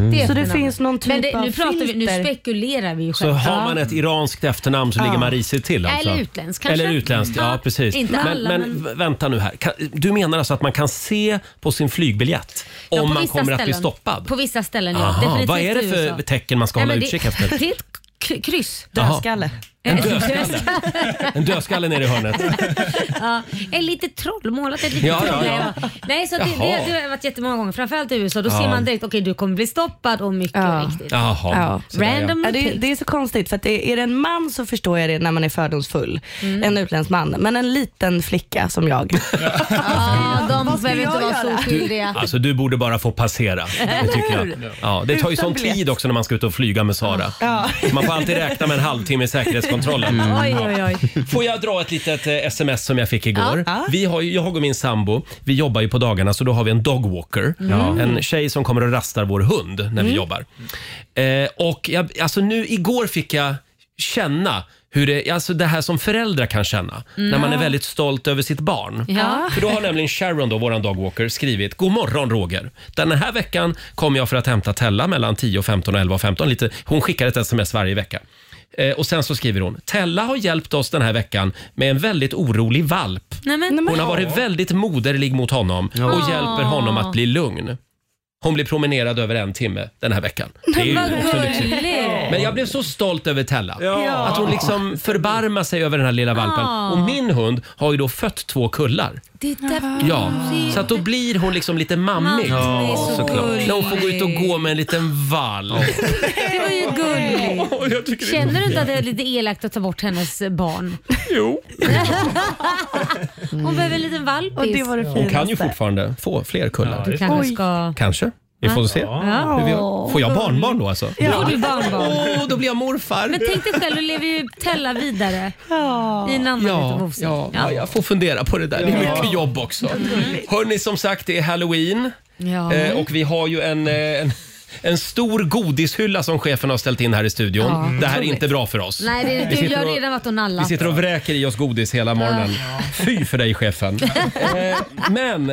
Så det
efternamn.
finns någon typ
Men det, nu
av
pratar vi, Nu
filter.
spekulerar vi ju
Så har man ett iranskt efternamn så
Ja.
ligger man risigt till alltså.
Eller utländskt kanske.
Eller utländskt, ja,
Ja,
precis.
inte
men,
alla,
men,
men-
v- vänta nu här. Kan, du menar alltså att man kan se på sin flygbiljett
Ja, på
om man
vissa
kommer att bli
ställen.
stoppad?
På vissa ställen ja.
Aha,
Definitivt
vad är det
i USA.
för tecken man ska
Nej,
hålla
men det-
utkik efter?
Det är ett k- kryss.
Jaha. Dödskalle. En dödskalle? En dödskalle nere i hörnet.
ja, en litet troll, målat ett litet
Ja, ja,
troll.
ja.
Nej, Nej, så det, det,
Jaha.
det har jag varit jättemånga gånger, framförallt i USA. Då
Ja.
ser man direkt, okej du kommer bli stoppad och mycket riktigt.
Ja.
Sådär, ja. Random
ja, det,
pick.
det är så konstigt för att det, är det en man så förstår jag det när man är fördomsfull.
Mm.
En utländsk man. Men en liten flicka som jag.
Ja,
ska
de behöver inte
jag
vara så
göra?
Du,
oskyldiga.
alltså du borde bara få passera. Det tycker
Eller hur?
jag. Ja, det tar ju
Utan
sån
biljett.
tid också när man ska ut och flyga med Sara.
Ja.
Man får alltid räkna med en halvtimme i säkerhetskontrollen.
Mm. Oj, oj, oj.
Får jag dra ett litet eh, sms som jag fick igår?
Ja.
Vi har, ju- jag och min sambo vi jobbar ju på dagarna så då har vi en dogwalker.
Mm.
Ja.
En tjej som kommer och rastar vår hund när vi
Mm.
jobbar. Eh, och jag, alltså nu igår fick jag känna hur det, alltså det här som föräldrar kan känna
Mm.
när man är
Ja.
väldigt stolt över sitt barn.
Ah.
Ja.
För då har nämligen Sharon, då, våran dogwalker, skrivit God morgon Roger. Den här veckan kom jag för att hämta Tella mellan 10 och 15 och 11 och 15. Lite, hon skickar ett sms varje vecka. Eh, och sen så skriver hon Tella har hjälpt oss den här veckan med en väldigt orolig valp.
Nej, men,
Hon har varit väldigt moderlig mot honom och
Ja.
hjälper honom att bli lugn. Hon blir promenerad över en timme den här veckan. Det är ju
Vad
också lyxigt.
gulligt.
Men jag blev så stolt över Tella.
Ja.
Att hon liksom förbarmar sig över den här lilla valpen.
Ja.
Och min hund har ju då fött två kullar.
Det där
Ja, så att då blir hon liksom lite mammig.
Mammig, Ja, så
såklart.
gullig.
När hon får gå ut och gå med en liten vall.
Det var ju gulligt.
tycker det är
Känner du inte
gulligt.
att det är lite elakt att ta bort hennes barn?
Jo.
Hon behöver en liten valpis. Och det var det
Hon kan ju fortfarande få fler kullar.
Du kanske Oj. ska-
Kanske. Vi får se.
Ja.
Hur vi har- Får jag barnbarn då alltså?
Då blir du barnbarn.
Åh, då blir jag morfar.
Men tänk dig själv, då lever ju Tella vidare i en annan
Ja,
liten vovse.
ja, ja, jag får fundera på det där. Det är mycket jobb också. Hörni, som sagt, det är halloween
Ja.
eh, och vi har ju en, eh, en, en stor godishylla som chefen har ställt in här i studion.
Ja,
det här är
otroligt.
inte bra för oss.
Nej, det,
Vi
du
sitter
gör
och-
redan varit och
vi
nallat.
sitter och vräker i oss godis hela morgonen. Fy för dig chefen. Eh, Men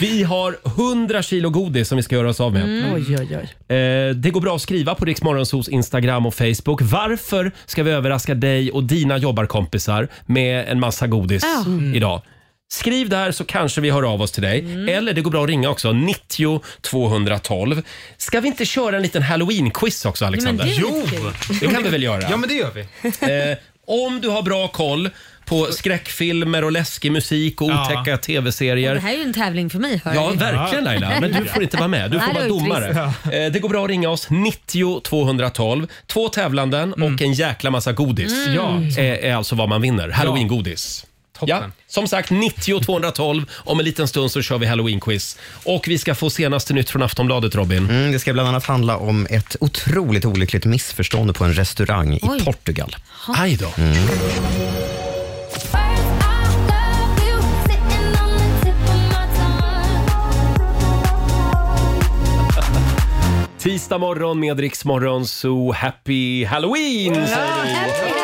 vi har 100 kilo godis som vi ska göra oss av med.
Mm. Oj, oj, oj.
Eh, Det går bra att skriva på Riksmorgonsos Instagram och Facebook. Varför ska vi överraska dig och dina jobbarkompisar med en massa godis
Ja. Mm.
idag? Skriv där så kanske vi hör av oss till dig. Eller det går bra att ringa också. 90 212. Ska vi inte köra en liten halloween-quiz också Alexander?
det är väl Jo! kul.
Det kan vi väl göra?
Ja, men det gör vi.
Eh, om du har bra koll på skräckfilmer och läskig musik och
Ja.
otäcka
Det
tv-serier.
här är ju en tävling för mig. Hör
Ja,
du.
verkligen Laila. Men du får inte vara med. Du
Nej,
får
det
vara
var otrist.
domare. Eh, Det går bra att ringa oss. 90 212. Två tävlanden och en jäkla massa godis.
Mm. Ja.
Är, är alltså vad man vinner. Halloween-godis. Ja, som sagt 90 212. Om en liten stund så kör vi halloween-quiz. Och vi ska få senaste nytt från Aftonbladet Robin.
Mm, det ska bland annat handla om ett otroligt olyckligt missförstånd på en restaurang i
Oj.
Portugal.
Aj då. Tisdag morgon med Rix Morgon Zoo. Happy Halloween! säger vi.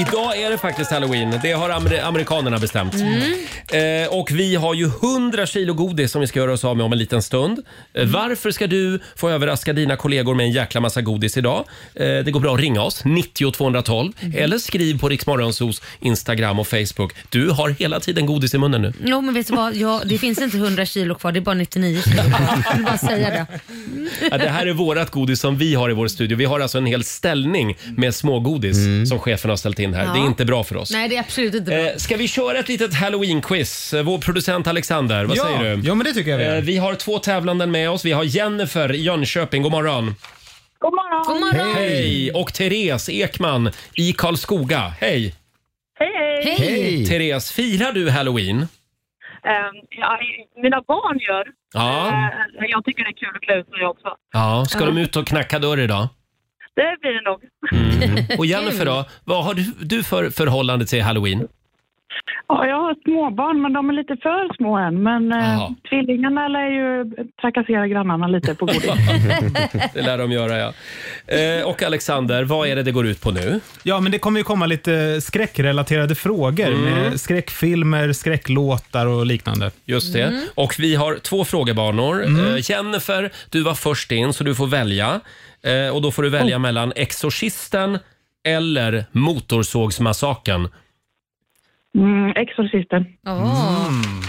Idag är det faktiskt halloween. Det har amer- amerikanerna bestämt. Eh, och vi har ju 100 kilo godis som vi ska göra oss av med om en liten stund. Eh, Varför ska du få överraska dina kollegor med en jäkla massa godis idag? Eh, det går bra att ringa oss, 90 212 eller skriv på Riksmorgonsos Instagram och Facebook. Du har hela tiden godis i munnen nu.
Jo men vet du vad, ja, det finns inte 100 kilo kvar, det är bara 99 kilo kvar. Jag vill bara säga det.
Ja, det här är vårat godis som vi har i vår studio. Vi har alltså en hel ställning med smågodis som chefen har ställt in här.
Ja.
Det är inte bra för oss.
Nej det är absolut inte bra.
Eh, Ska vi köra ett litet halloween-quiz? Eh, Vår producent Alexander, vad
Ja,
säger du?
ja, men det tycker jag vi gör.
Eh, Vi har två tävlanden med oss. Vi har Jennifer i Jönköping, god morgon.
God morgon. God
Hej! Och Therese Ekman i Karlskoga, hej!
Hej, hej!
Therese, firar du halloween?
Ehm, ja, mina barn gör.
Ja.
Ehm, jag tycker det är kul att klä ut mig också.
Ja, ska
Ja.
de ut och knacka dörr idag?
Det blir det nog.
Och Jennifer då, vad har du, du för förhållande till halloween?
Ja, jag har småbarn, men de är lite för små än. Men eh,
Jaha.
tvillingarna lär ju trakassera grannarna lite på godis.
Det lär de göra ja. Eh, Och Alexander, vad är det det går ut på nu?
Ja, men det kommer ju komma lite eh, skräckrelaterade frågor med skräckfilmer, skräcklåtar och liknande.
Just det. Och vi har två frågebanor. Eh, Jennifer, du var först in så du får välja. Eh, och då får du välja mellan Exorcisten eller Motorsågsmassakern.
Mm, Exorcisten.
Mm.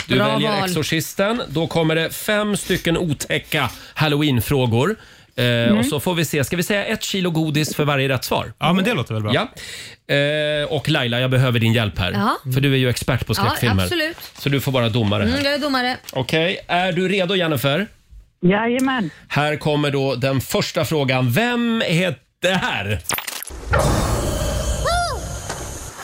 Du
Bra
väljer
val.
Exorcisten. Då kommer det fem stycken otäcka halloweenfrågor. Eh, Och så får vi se. Ska vi säga ett kilo godis för varje rätt svar?
Ja, men det låter väl bra.
Ja. Eh, och Laila, jag behöver din hjälp här.
Ja.
För du är ju expert på
Ja,
skräckfilmer.
absolut.
Så du får vara domare här.
Mm, jag är domare.
Okej, är du redo Jennifer?
Jajamän.
Här kommer då den första frågan. Vem är det här?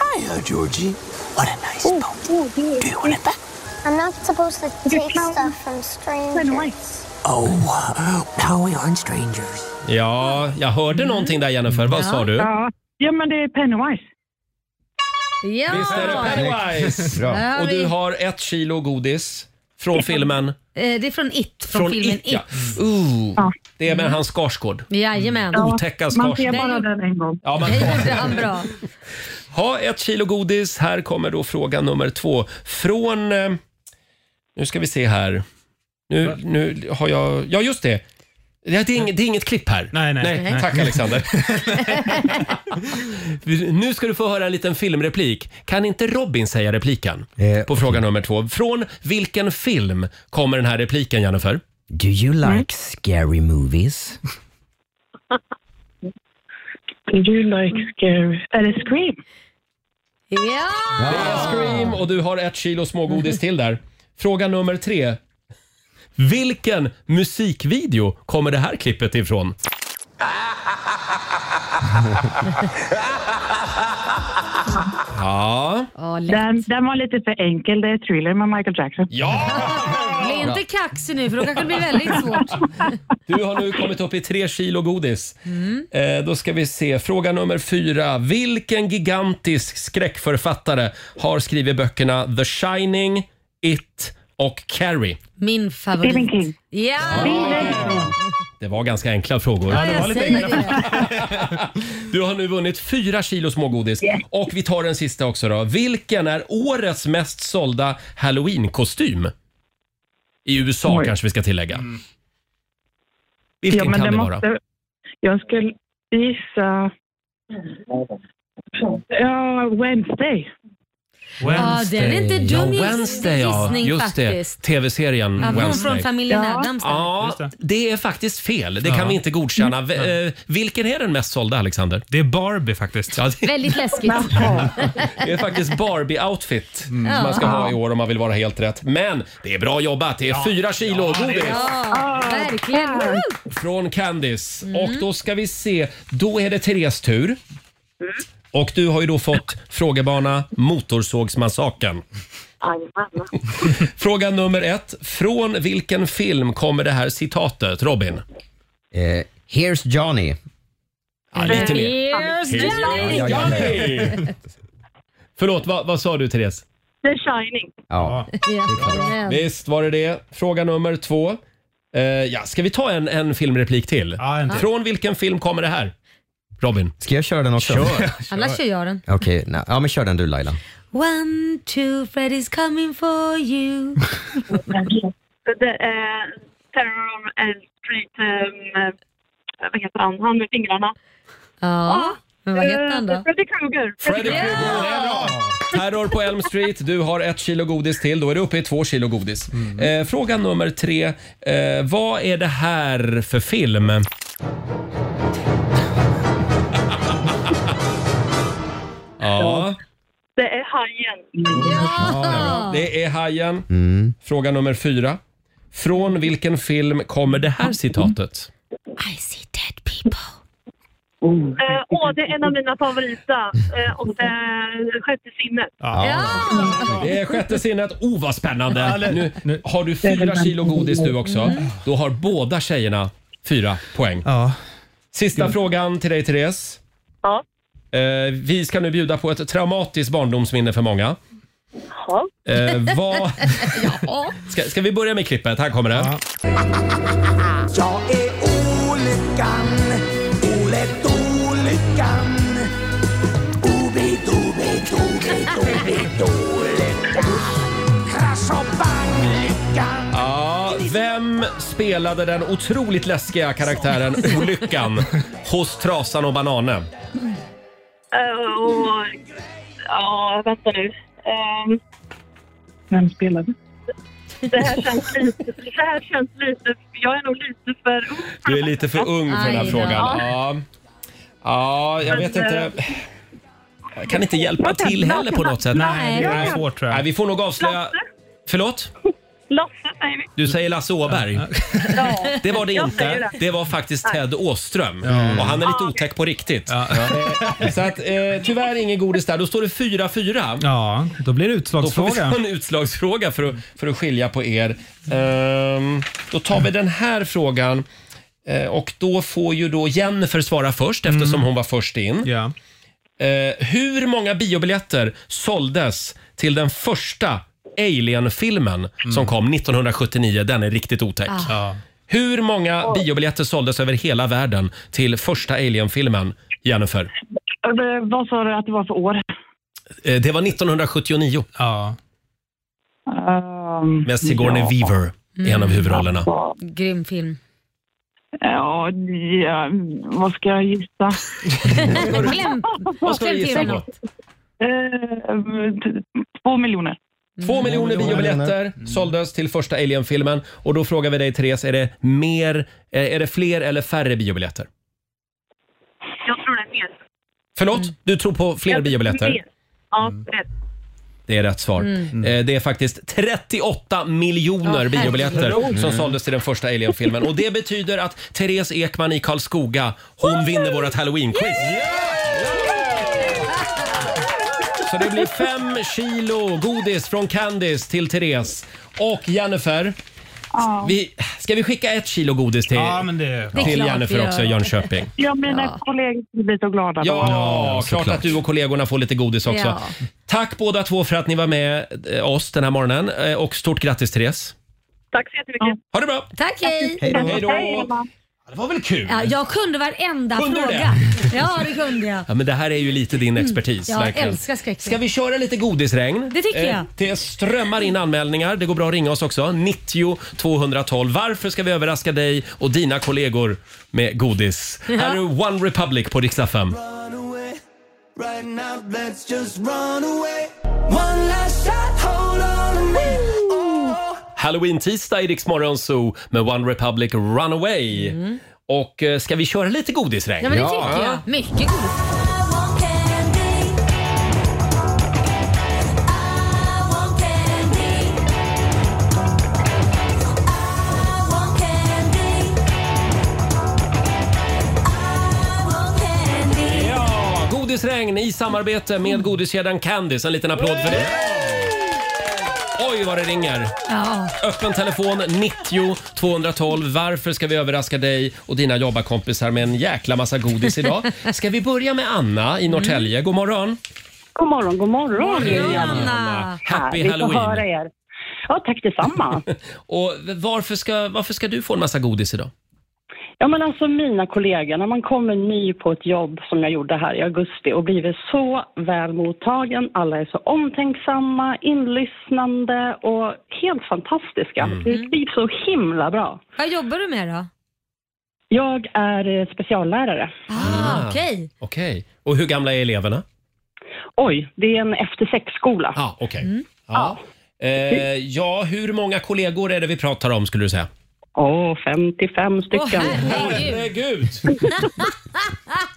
Hiya, Georgie. What a nice boat. Do you want it back?
I'm not supposed to take stuff from strangers.
Oh, uh, now we aren't strangers.
Ja, jag hörde
Mm.
någonting där Jennifer. Vad sa du?
Ja. ja, men det är Pennywise.
Ja.
Visst är det Pennywise?
Bra. Där har
Och du
vi-
har ett kilo godis från filmen?
Eh, Det är från It, från, filmen It.
ja. Ooh, det är med han Skarsgård.
Jajamän.
Ja, Otäcka man ser bara
den en gång.
Ja, man-
Det gjorde han bra.
Ha ett kilo godis. Här kommer då fråga nummer två. Från... eh, Nu ska vi se här. Nu, nu har jag... Ja, just det. Det är, inget, det är inget klipp här. Nej,
nej, nej.
Tack Alexander. nu ska du få höra en liten filmreplik. Kan inte Robin säga repliken på fråga nummer två? Från vilken film kommer den här repliken, Jennifer?
Do you
Mm.
like scary movies?
Do you like scary... Eller Scream.
Ja!
Det är Scream och du har ett kilo smågodis till där. Fråga nummer tre. Vilken musikvideo kommer det här klippet ifrån? Ja.
den, den var lite för enkel. Det är Thriller med Michael Jackson.
Ja!
Bli inte kaxig nu för då kanske det blir väldigt svårt.
Du har nu kommit upp i tre kilo godis.
Mm.
Eh, då ska vi se. Fråga nummer fyra. Vilken gigantisk skräckförfattare har skrivit böckerna The Shining, It och Carrie?
Min favorit.
Stephen
King. Ja!
Det var ganska enkla frågor.
Ja, jag säger det.
Du har nu vunnit fyra kilo smågodis. Och vi tar den sista också då. Vilken är årets mest sålda halloween-kostym? I USA kanske vi ska tillägga. Vilken
men
kan det vara?
Jag skulle gissa... Ja, Wednesday.
Ja, den är inte dum
ja,
giss-
Wednesday, ja.
gissning
Just det.
faktiskt.
Tv-serien
Ja, hon
Wednesday.
från familjen Addams där.
Ja, det är faktiskt fel. Det kan
Ja.
vi inte godkänna. V- eh, vilken är den mest sålda, Alexander? Det är Barbie faktiskt. Ja, det,
Väldigt läskigt.
det är faktiskt Barbie-outfit som man ska
Mm. Ja.
ha i år om man vill vara helt rätt. Men det är bra jobbat. Det är fyra kilo godis.
Ja, verkligen. Woo! Mm.
Från Candice. Och då ska vi se. Då är det Therese tur.
Mm.
Och du har ju då fått frågebana Motorsågsmassakern. Fråga nummer ett. Från vilken film kommer det här citatet, Robin?
Eh, Here's Johnny.
Ja, lite mer.
Here's Johnny!
Ja, ja, ja. Förlåt, vad, vad sa du Therese?
The Shining.
Ja.
Ja, men.
Visst var det det. Fråga nummer två. Eh, ja, ska vi ta en, en filmreplik till?
en till.
Från vilken film kommer det här? Robin?
Ska jag köra den också?
Kör.
Annars kör jag den.
Okej, nej, ja men kör den du Laila.
One, two, Freddy's coming for you.
Det är Terror on Elm Street. ehm, eh, vad heter han? Han med fingrarna.
Ja, men vad heter han
Eh,
då?
Freddy Krueger.
Freddy Krueger, Ah. det är bra. Terror på Elm Street, du har ett kilo godis till. Då är du uppe i två kilo godis. Eh, fråga nummer tre. Eh, vad är det här för film? ja,
Det är Hajen.
det är Hajen.
Mm.
Fråga nummer fyra. Från vilken film kommer det här citatet?
I see dead people.
Eh, åh, det är en av mina favoriter. Eh, och det är Sjätte sinnet.
Det är sjätte sinnet. Oh, vad spännande! Nu, har du fyra kilo godis du också. Då har båda tjejerna fyra poäng. Sista frågan till dig, Therese.
Ja.
Eh, vi ska nu bjuda på ett traumatiskt barndomsminne för många. Eh, vad... ska, ska vi börja med klippet? Här kommer det.
Jag är olyckan, Ole Dolyckan. Obi, dobi, dobi, dobi, dolyckan. Krasch och bang-lyckan.
Ja, vem spelade den otroligt läskiga karaktären Olyckan hos Trasan och Bananen?
Eh, och... Ja, vänta nu. Ehm,
Vem spelade?
det här känns lite... Det här känns lite... Jag är nog lite för ung.
Du är lite för ung för den här
Aj då.
frågan. Ja, ja jag vet inte. Jag kan inte hjälpa till heller på något sätt.
Nej, det är svårt,
tror jag. Nej, vi får nog avslöja... Förlåt?
Lasse säger vi.
Du säger Lasse Åberg.
Ja.
Det var det
Jag säger
inte. Det var faktiskt Ted Åström.
Ja.
Och han är lite otäck på riktigt. Eh, Så att, eh, tyvärr ingen godis där. Då står det 4-4.
Ja, då blir det
Då får vi
utslagsfråga.
ta en utslagsfråga för att, för att skilja på er. Ehm, då tar vi den här frågan. Eh, och då får ju då Jennifer svara först eftersom hon var först in. Eh, hur många biobiljetter såldes till den första Alien-filmen som kom 1979? Den är riktigt otäck.
Ah. Ja.
Hur många biobiljetter såldes över hela världen till första Alien-filmen, Jennifer?
Eh, Vad sa du att det var för år?
Eh, det var 1979.
Ehm,
Med Sigourney
ja.
Weaver i en av huvudrollerna.
Grym film.
Ja, ja, vad ska jag gissa?
Mm.
Kläm,
Vad ska du
kläm till
gissa
mig
på?
något.
Eh, t- Två miljoner.
Mm. Två miljoner Mm. biobiljetter såldes till första Alien-filmen. Och då frågar vi dig, Therese, är det, mer, eh, är det fler eller färre biobiljetter?
Jag tror det är mer.
Förlåt, du tror på fler biobiljetter?
Mer. Ja, rätt.
Det är rätt svar.
Mm.
Eh, Det är faktiskt 38 miljoner
Ja,
biobiljetter
herregud.
som
Mm.
såldes till den första Alien-filmen. Och det betyder att Therese Ekman i Karlskoga, hon vinner vårt Halloween-quiz. Så det blir fem kilo godis från Candice till Therese. Och Jennifer,
Ja.
vi, ska vi skicka ett kilo godis till,
Ja, men det- Det är
till
klart vi
Jennifer
gör.
också i Jönköping?
Jag menar kollegor skulle bli så glada då.
Ja, klart att du och kollegorna får lite godis också.
Ja.
Tack båda två för att ni var med eh, oss den här morgonen eh, och stort grattis Therese.
Tack så jättemycket.
Ha det bra!
Tack, hej.
Hej då. Hej då. Det var väl kul?
Ja, jag kunde varenda
Kunde du
fråga. Ja, det kunde jag.
Ja, men det här är ju lite din expertis.
Mm. Jag
verkligen.
älskar skräckfilm.
Ska vi köra lite godisregn? Eh,
Det tycker jag.
Det strömmar in anmälningar. Det går bra att ringa oss också. 90 212. Varför ska vi överraska dig och dina kollegor med godis?
Ja.
Här är One Republic på Rix FM.
Right now, let's just run away. One last shot, hold on to me. Oh.
Halloween-tisdag i Rix Morgon Zoo med One Republic Runaway. Och eh, ska vi köra lite godisregn?
Mm. Ja, men det tycker jag. Mycket godis.
Ja, Godisregn i samarbete med godiskedjan Candice. En liten applåd för det. Oj, vad det ringer.
Ja.
Öppen telefon 90 212. Varför ska vi överraska dig och dina jobbarkompisar med en jäkla massa godis idag? Ska vi börja med Anna i Norrtälje? God morgon.
God morgon, god morgon.
Hej,
Hej,
Anna. Happy
Härligt att
Halloween.
höra er. Ja, tack detsamma.
Och varför ska, varför ska du få en massa godis idag?
Ja, men alltså mina kollegor, när man kommer ny på ett jobb som jag gjorde här i augusti och blivit så väl mottagen, alla är så omtänksamma, inlyssnande och helt fantastiska.
Mm.
Det blir så himla bra.
Vad jobbar du med då?
Jag är eh, speciallärare.
Ah,
Okej.
Okej. Och hur gamla är eleverna?
Oj, det är en efter sex-skola.
Ah, okej. Ja. Eh, ja, hur många kollegor är det vi pratar om skulle du säga?
Åh, 55 stycken.
herregud!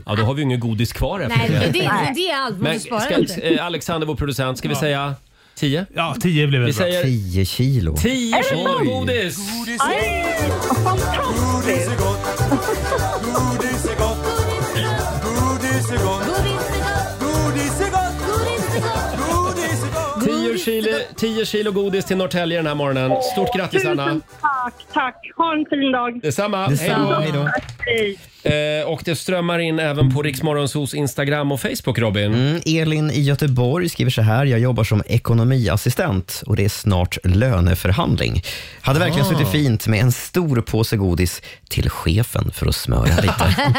Ja, då har vi ju inget godis kvar efter
Nej, men det, det är allt. Man
Men
får spara
ska,
lite.
eh, Alexander, vår producent, ska vi säga 10? Ja, 10 blir
Vi
vi
säger... 10 kilo.
10 kilo
Oj.
godis!
Aj, fantastiskt!
Godis är gott. Godis är gott. Godis är gott. Godis är gott.
10 kilo, 10 kilo godis till Norrtälje den här morgonen. Stort grattis Anna!
Tusen tack, tack. Ha en fin dag.
Detsamma! Hej då! Eh, och det strömmar in även på Riksmorgonsos Instagram och Facebook, Robin.
Mm, Elin i Göteborg skriver så här. Jag jobbar som ekonomiassistent och det är snart löneförhandling. Hade verkligen
Ah.
suttit fint med en stor påse godis till chefen för att smöra lite.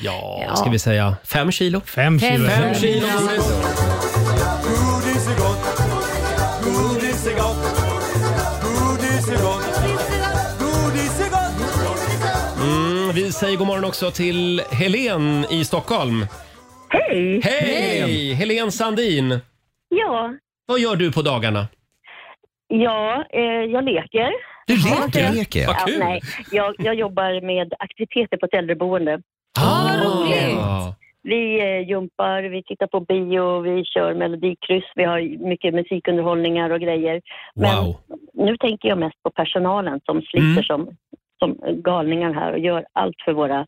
ja, Vad ska vi säga? Fem kilo?
Fem
kilo. Fem kilo.
Godis är gott. Godis är gott. Godis är gott. Godis är gott.
Mm, vi säger god morgon också till Helen i Stockholm.
Hej!
Hej!
Hej.
Helen Sandin,
Ja,
vad gör du på dagarna?
ja eh, jag leker.
Du leker?
Ja,
Vad kul!
nej, jag, jag jobbar med aktiviteter på ett äldreboende.
Ah. Ja.
Vi eh, jumpar, vi tittar på bio, vi kör melodikryss, vi har mycket musikunderhållningar och grejer.
Wow. Mm.
Men nu tänker jag mest på personalen som sliter som, som galningar här och gör allt för våra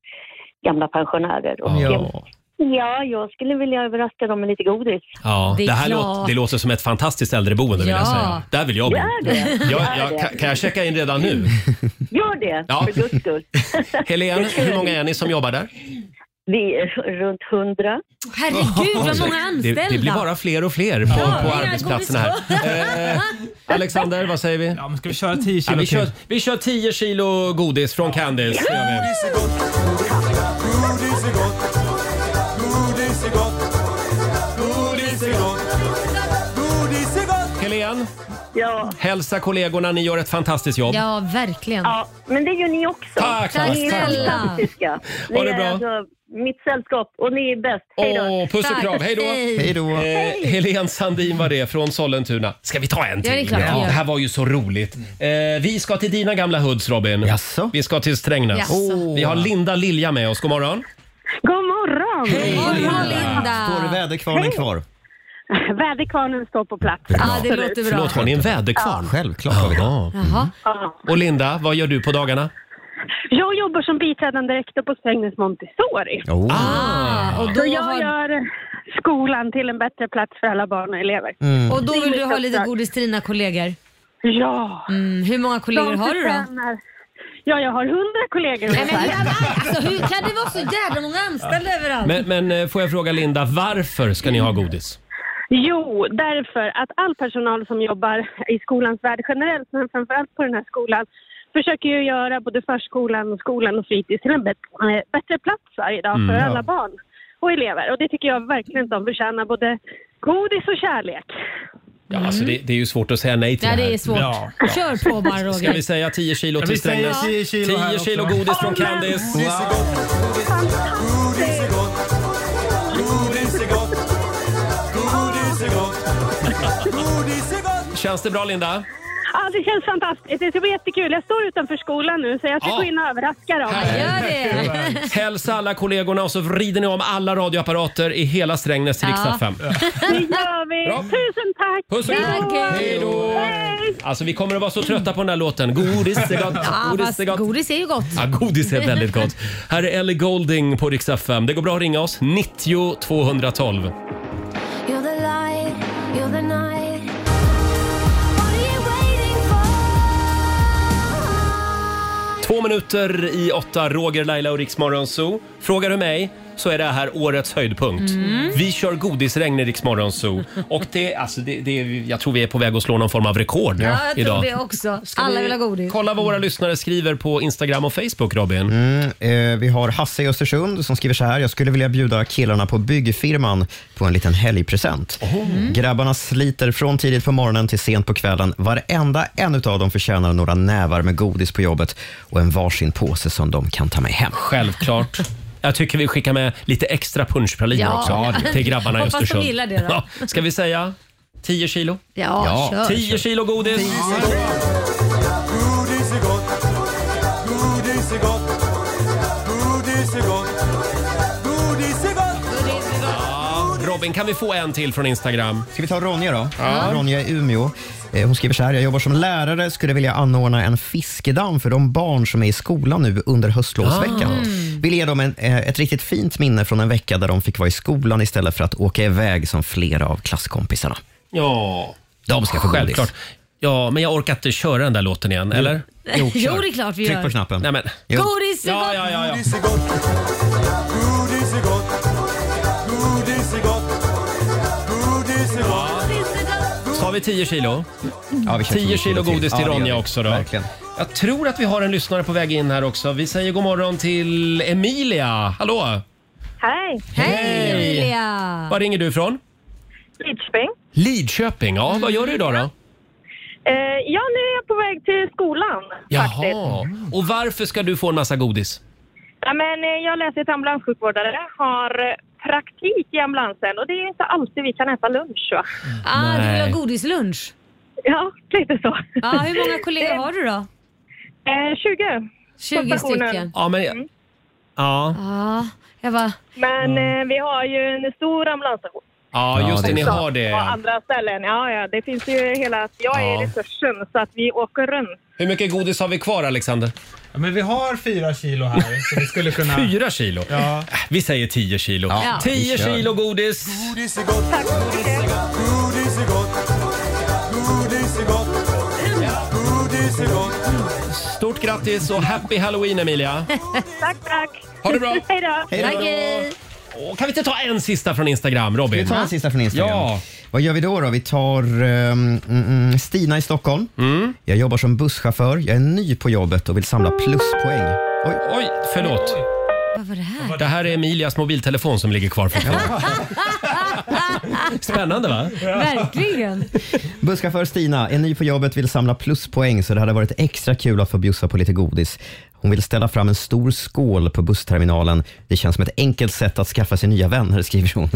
gamla pensionärer. Och
Ja.
ja, jag skulle vilja överraska dem med lite godis.
Ja,
Det
det,
är
här
klart.
låter, det låter som ett fantastiskt äldreboende vill
Ja.
jag säga. Där vill jag bo.
Gör det.
Jag,
Gör det.
jag, kan, kan jag checka in redan nu?
Gör det,
Ja.
för guds skull.
Helen, hur många är ni som jobbar där?
Vi är runt hundra.
Herregud, vad många
Det,
anställda!
det blir bara fler och fler på,
Ja,
på
det är
arbetsplatserna här. Eh, Alexander, vad säger vi? Ja, men ska vi köra 10
kilo
vi,
till?
kör, vi kör 10 kilo godis från Candice. det gör vi.
Godis är gott. Godis är gott. Godis är gott. Godis är gott. Godis är gott.
Helen,
Ja.
hälsa kollegorna, ni gör ett fantastiskt jobb.
Ja, verkligen.
Ja, men det gör ni också.
Tack,
Ni
tack,
är
tack.
fantastiska. Ni
Ha det
är
bra.
Alltså mitt sällskap och ni är bäst. Hej då.
Åh, puss och kram, hej då! Eh, Helen Sandin var det från Sollentuna. Ska vi ta en till?
Ja, det är klart vi gör.
det här var ju så roligt. Eh, vi ska till dina gamla hoods Robin. Vi ska till Strängnäs. Oh.
Jaså. Åh.
Vi har Linda Lilja med oss, god morgon.
God morgon!
Hej, God morgon, Linda.
Linda!
Står väderkvarnen kvar?
Väderkvarnen står på plats. Absolut.
Förlåt, har ni en väderkvarn? Självklart har vi det.
Jaha.
Och Linda, vad gör du på dagarna?
Jag jobbar som biträdande rektor på Strängnäs Montessori.
Oh. Ah,
och
Så jag gör skolan till en bättre plats för alla barn och elever.
Mm.
Och då
Det är
vill du
mitt
ha lite
uppdrag.
godis till dina kollegor?
Ja.
Mm, hur många kollegor
De
har du då?
förtjänar- Ja, jag har hundra kollegor
Nej, men,
ungefär.
alltså, hur kan det vara så jävla många anställda överallt?
Men, men eh, får jag fråga Linda, varför ska ni ha godis?
Jo, därför att all personal som jobbar i skolans värld generellt, men framförallt på den här skolan, försöker ju göra både förskolan, och skolan och fritids till en bet- eh, bättre plats varje dag för
Mm, ja.
alla barn och elever. Och det tycker jag verkligen att de förtjänar, både godis och kärlek.
Ja, alltså, det, det är ju svårt att säga nej till
Ja,
det här.
det är svårt.
Ja.
Kör på bara
Ska vi
Roger.
säga 10 kilo
Ja, vi
till
säger
Strängnäs?
10 kilo här
10 kilo
också.
godis från
Amen.
Candice.
Godis är gott. Godis är gott. Godis är gott. Godis är gott. Godis är gott.
Känns det bra Linda?
Ja, det känns fantastiskt. Det ska bli jättekul. Jag står utanför skolan nu, så jag ska
Ja.
gå in och överraska dem.
Hälsa alla kollegorna och så vrider ni om alla radioapparater i hela Strängnäs till riksdag 5.
Det gör vi. Tusen tack!
Puss och kram. Hej då! Alltså vi kommer att vara så trötta på den här låten. Godis är gott,
Ja,
godis
fast
är gott.
godis är ju gott.
Ja, godis är väldigt gott. Här är Ellie Golding på riksdag 5. Det går bra att ringa oss. 90 212.
You're the light, you're the night.
Två minuter i åtta, Roger, Laila och Riksmorgon Zoo. Frågar du mig så är det här årets höjdpunkt.
Mm.
Vi kör godisregn i Rix Morgon Zoo. Och det, alltså, det, det, jag tror vi är på väg att slå någon form av rekord
Ja, jag tror
idag.
det också. Alla
vi
vill ha godis. Mm.
Kolla vad våra lyssnare skriver på Instagram och Facebook, Robin.
Mm, eh, vi har Hasse i Östersund som skriver så här. Jag skulle vilja bjuda killarna på byggfirman på en liten helgpresent. Grabbarna sliter från tidigt på morgonen till sent på kvällen. Varenda en av dem förtjänar några nävar med godis på jobbet och en varsin påse som de kan ta med hem.
Självklart. Jag tycker vi skickar med lite extra punschpraliner
Ja. Ja,
också
det-
till grabbarna i
Hoppas de
Östersund.
gillar det då.
Ja, ska vi säga 10 kilo?
Ja, kör.
10 kilo godis.
Godis är gott. Godis är gott. Godis är gott. Godis är gott.
Ja, Robin, kan vi få en till från Instagram?
Ska vi ta Ronja då?
Ja.
Ronja i Umeå. Eh, Hon skriver så här. Jag jobbar som lärare, skulle vilja anordna en fiskedamm för de barn som är i skolan nu under höstlovsveckan.
Ah.
Vill ge dem en, eh, ett riktigt fint minne från en vecka där de fick vara i skolan istället för att åka iväg som flera av klasskompisarna.
Ja.
De ska få godis.
Självklart. Ja, men jag orkar inte köra den där låten igen, eller?
Jo,
kör.
det är klart vi
Tryck
gör.
på knappen. Nej, men.
Godis är gott!
ja, ja.
Godis är gott. Godis är gott. Godis är gott. Godis är gott.
Tar vi 10 kilo?
Ja, vi kör
10
10
kilo
kilo till.
godis till
Ja, det gör
Ronja
vi.
också då.
Verkligen.
Jag tror att vi har en lyssnare på väg in här också. Vi säger god morgon till Emilia. Hallå!
Hej!
Hej,
Emilia!
Var ringer du ifrån?
Lidköping.
Lidköping. Ja, vad gör du idag
Mm,
då?
Eh, ja, nu är jag på väg till skolan faktiskt.
Jaha. Och varför ska du få en massa godis?
Ja, men, eh, jag läser till ambulanssjukvårdare, har eh, praktik i ambulansen och det är inte alltid vi kan äta lunch. Va?
Ah, du vill
Nej.
ha godislunch?
Ja, lite så.
Ja, hur många kollegor har du då?
Eh, 20.
20
Stationen.
stycken.
Ja, men...
Mm.
Ja.
Ja, jag bara...
Men
Mm.
eh, vi har ju en stor ambulansstation.
ja, just det. Ni har det.
På
ja.
andra ställen. Ja, ja, det finns ju hela... Jag är
Ja.
resursen så att vi åker runt.
Hur mycket godis har vi kvar, Alexander?
men vi har fyra kilo här, så vi skulle kunna...
Fyra kilo?
Ja.
Vi säger 10 kilo.
Ja.
10
Vi kör.
kilo godis.
Godis är gott. Godis är gott. Godis är gott. Godis är gott.
Stort grattis och happy halloween, Emilia.
tack, tack.
Ha det bra.
Hej då.
Hej då. Tack, hej. Åh, kan vi inte ta en sista från Instagram, Robin?
Vi tar en sista från Instagram.
Ja.
Vad gör vi då? då? Vi tar ehm, mm, mm, Stina i Stockholm.
Mm.
Jag jobbar som busschaufför. Jag är ny på jobbet och vill samla pluspoäng. Oj,
Oj förlåt.
Vad var det här?
Det här är Emilias mobiltelefon som ligger kvar fortfarande. Spännande va?
Verkligen.
Busschaufför Stina är ny på jobbet, vill samla pluspoäng så det hade varit extra kul att få bjussa på lite godis. Hon vill ställa fram en stor skål på bussterminalen. Det känns som ett enkelt sätt att skaffa sig nya vänner, skriver hon.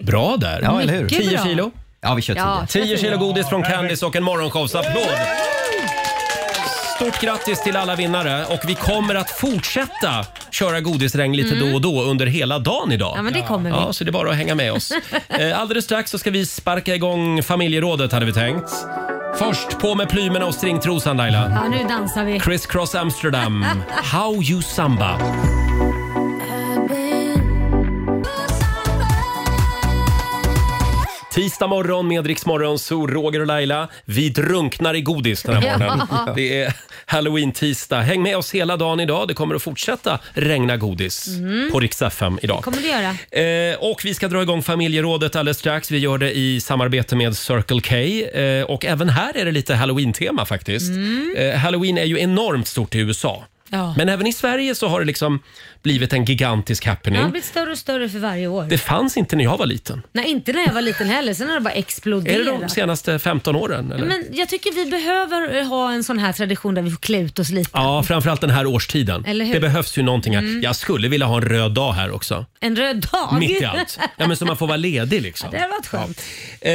Bra där.
Ja, eller hur?
Mycket 10 bra. kilo?
Ja, vi kör 10.
Ja, 10 kilo godis från Candice och en morgonshowsapplåd. Stort grattis till alla vinnare och vi kommer att fortsätta köra godisregn lite
Mm.
då och då under hela dagen idag.
Ja, men det kommer vi.
Ja, så det är bara att hänga med oss. Eh, Alldeles strax så ska vi sparka igång familjerådet hade vi tänkt. Först på med plymerna och stringtrosan Laila.
Ja, nu dansar vi.
Criss Cross Amsterdam, How You Samba. Tisdag morgon med Rix Morgon, så Roger och Laila. Vi drunknar i godis den här morgonen.
Ja.
Det är halloween-tisdag. Häng med oss hela dagen idag. Det kommer att fortsätta regna godis
Mm.
på Rix FM idag.
kommer du göra.
Eh, och vi ska dra igång familjerådet alldeles strax. Vi gör det i samarbete med Circle K. Eh, och även här är det lite halloween-tema faktiskt. Eh, Halloween är ju enormt stort i USA.
Mm. Ja.
Men även i Sverige så har det liksom blivit en gigantisk
Det
happening.
har blivit större och större för varje år.
Mm. Det fanns inte när jag var liten.
Nej, inte när jag var liten heller. Sen har det bara exploderat.
Är det de senaste 15 åren? Eller?
Men jag tycker vi behöver eh, ha en sån här tradition där vi får klä ut oss lite.
Ja, framförallt den här årstiden.
Eller hur?
Det behövs ju någonting här.
Mm.
Jag skulle vilja ha en röd dag här också.
En röd dag.
Mitt i allt. Ja, men så man får vara ledig liksom.
Det hade varit skönt.
Eh,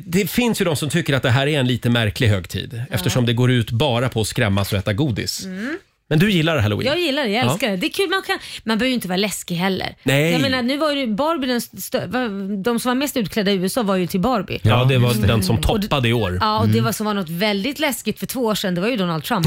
det finns ju de som tycker att det här är en lite märklig högtid eftersom det går ut bara på att skrämmas och äta godis.
Mm.
Men du gillar halloween?
Jag gillar det, jag
Ja.
älskar det. Det är kul, man, kan, man behöver ju inte vara läskig heller.
Nej.
Jag menar, nu var ju Barbie den stö- var- de som var mest utklädda i USA var ju till Barbie.
Ja, det var
Mm.
den som
Och det-
toppade i år.
Ja, och det var som var något väldigt läskigt för två år sedan, det var ju Donald Trump.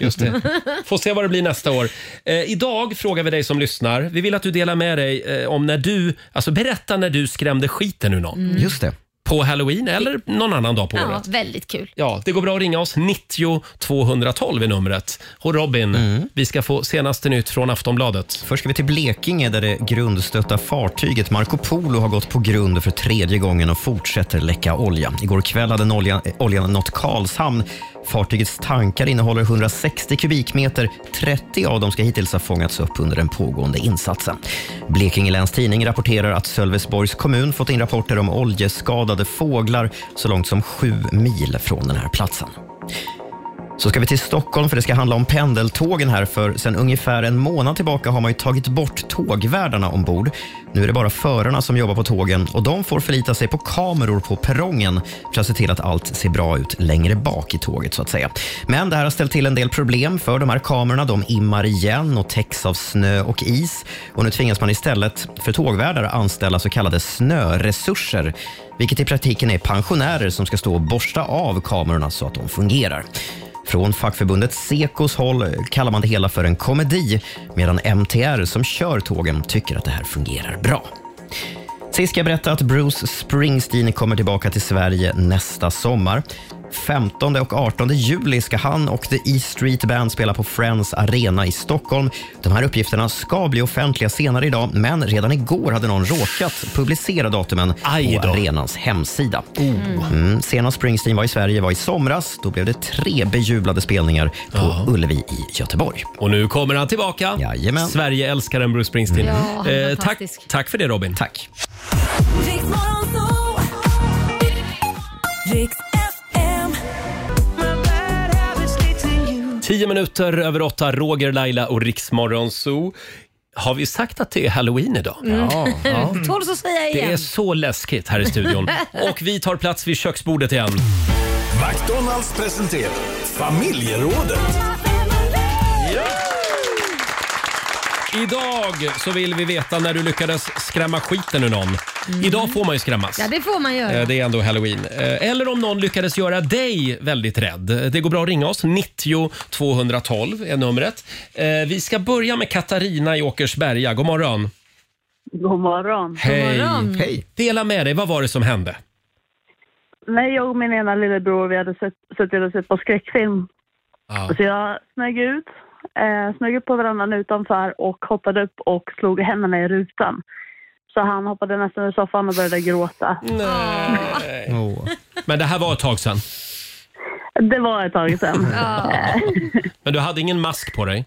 Just det. Får se vad det blir nästa år. Eh, idag frågar vi dig som lyssnar. Vi vill att du delar med dig eh, om när du, alltså berätta när du skrämde skiten ur någon.
Just det.
på halloween eller någon annan dag på
Mm. Ja,
året.
väldigt kul.
Ja, det går bra att ringa oss. 90 212 är numret. Och Robin,
Mm.
vi ska få senaste nytt från Aftonbladet.
Först ska vi till Blekinge där det grundstötta fartyget Marco Polo har gått på grund för tredje gången och fortsätter läcka olja. Igår kväll hade en olja, eh, oljan nått Karlshamn. Fartygets tankar innehåller 160 kubikmeter. 30 av dem ska hittills ha fångats upp under den pågående insatsen. Blekinge Läns Tidning rapporterar att Sölvesborgs kommun fått in rapporter om oljeskadade fåglar så långt som sju mil från den här platsen. Så ska vi till Stockholm för det ska handla om pendeltågen här för sen ungefär en månad tillbaka har man ju tagit bort tågvärdarna ombord. Nu är det bara förarna som jobbar på tågen och de får förlita sig på kameror på perrongen för att se till att allt ser bra ut längre bak i tåget så att säga. Men det här har ställt till en del problem för de här kamerorna. De immar igen och täcks av snö och is och nu tvingas man istället för tågvärdar anställa så kallade snöresurser vilket i praktiken är pensionärer som ska stå och borsta av kamerorna så att de fungerar. Från fackförbundet Sekos håll kallar man det hela för en komedi medan MTR som kör tågen tycker att det här fungerar bra. Sist ska jag berätta att Bruce Springsteen kommer tillbaka till Sverige nästa sommar. 15 och 18 juli ska han och The E Street Band spela på Friends Arena i Stockholm. De här uppgifterna ska bli offentliga senare idag, men redan igår hade någon råkat publicera datumen
Aj
på
då. Oh.
arenans hemsida. Mm. Senast Springsteen var i Sverige var i somras. Då blev det tre bejublade spelningar på Ullevi i Göteborg.
Och nu kommer han tillbaka.
Jajamän.
Sverige älskar en Bruce Springsteen.
Mm. Ja, han är
eh, tack, tack för det Robin.
Tack.
Riks FM.
Tio minuter över åtta, Roger, Laila och Riksmorgon Zoo. Har vi sagt att det är halloween idag?
Mm. Tåls att säga
Det är
igen.
så läskigt här i studion. Och vi tar plats vid köksbordet igen.
McDonalds presenterar Familjerådet.
Idag så vill vi veta när du lyckades skrämma skiten ur någon. Idag får man ju skrämmas.
Mm. Ja, det får man göra.
Eh, Det är ändå halloween. Eh, Eller om någon lyckades göra dig väldigt rädd. Det går bra att ringa oss. 90 212 är numret. Eh, Vi ska börja med Katarina i Åkersberga. God morgon.
God morgon.
Hej. Hej. Dela med dig. Vad var det som hände?
Nej, jag och min ena lillebror vi hade sett- suttit och sett på skräckfilm. Så jag smög ut, eh, smög upp på verandan utanför och hoppade upp och slog händerna i rutan. Så han hoppade nästan ur soffan och började gråta.
Men det här var ett tag sedan.
Det var ett tag sedan. Eh,
Men du hade ingen mask på dig?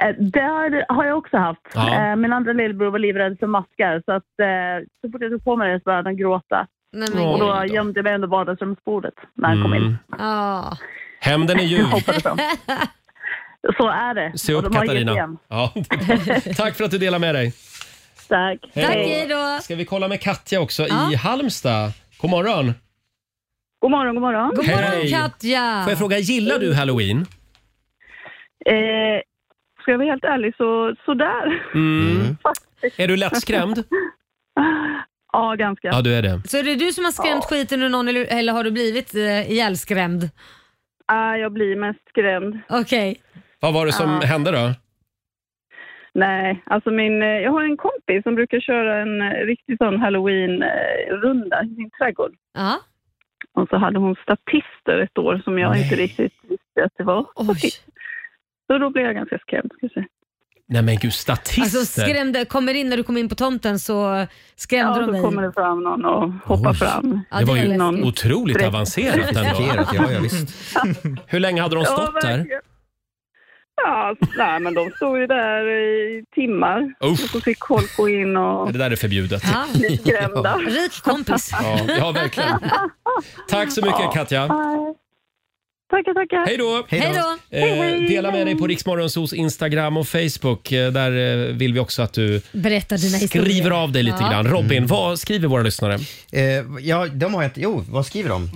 Eh, Det har- har jag också haft.
Ja.
Eh, Min andra lillebror var livrädd för maskar så att eh, så fort jag tog på mig det så började han gråta.
men
och då
gud då.
gömde jag mig under vardagsrumsbordet när han kom in.
Mm. Hämnden är ljuv.
Så är det.
Se
Och
upp
de har gett
Katarina.
igen.
Ja, det är bra. Tack för att du delar med dig.
Tack.
Tack, hej då.
Ska vi kolla med Katja också
Ja.
i Halmstad? God morgon.
God morgon, god morgon.
God morgon
Hej.
Katja.
Får jag fråga, gillar du halloween?
Eh, ska jag vara helt ärlig så sådär.
Mm. Är du lättskrämd?
ja, ganska.
Ja, du är det.
Så är det du som har skrämt skiten ur någon eller, eller har du blivit eh, ihjälskrämd?
Ah, jag blir mest skrämd.
Okej.
Vad var det som
Ja.
hände då?
Nej, alltså min, eh, jag har en kompis som brukar köra en eh, riktig sån halloween-runda i sin trädgård. Och så hade hon statister ett år som jag inte riktigt visste att det var. Så då blev jag ganska skrämd. Ska jag säga.
Nej men gud, statister.
Alltså skrämde, kommer in när du kommer in på tomten så skrämde
Ja,
de
så
dig.
kommer det fram någon och hoppar
Oj.
fram.
det var ju
Någon-
otroligt
Direkt.
avancerat ändå.
Avancerat, ja, ja, visst.
Hur länge hade de stått där?
verkligen. Ja, nej, men de stod ju där i timmar.
Uff.
Och fick folk gå in och...
Det där är förbjudet.
Ja. Bli skrämda.
Rik kompis.
Ja, ja, verkligen. Tack så mycket Katja.
Tackar, tackar.
Hej då!
Hej, hej.
Eh, dela med dig på Riksmorgonsos Instagram och Facebook. Eh, Där eh, vill vi också att du
Berätta dina historier.
skriver av dig lite
Ja.
grann. Robin, vad skriver våra lyssnare?
Eh, ja, de har ett, jo, vad skriver de?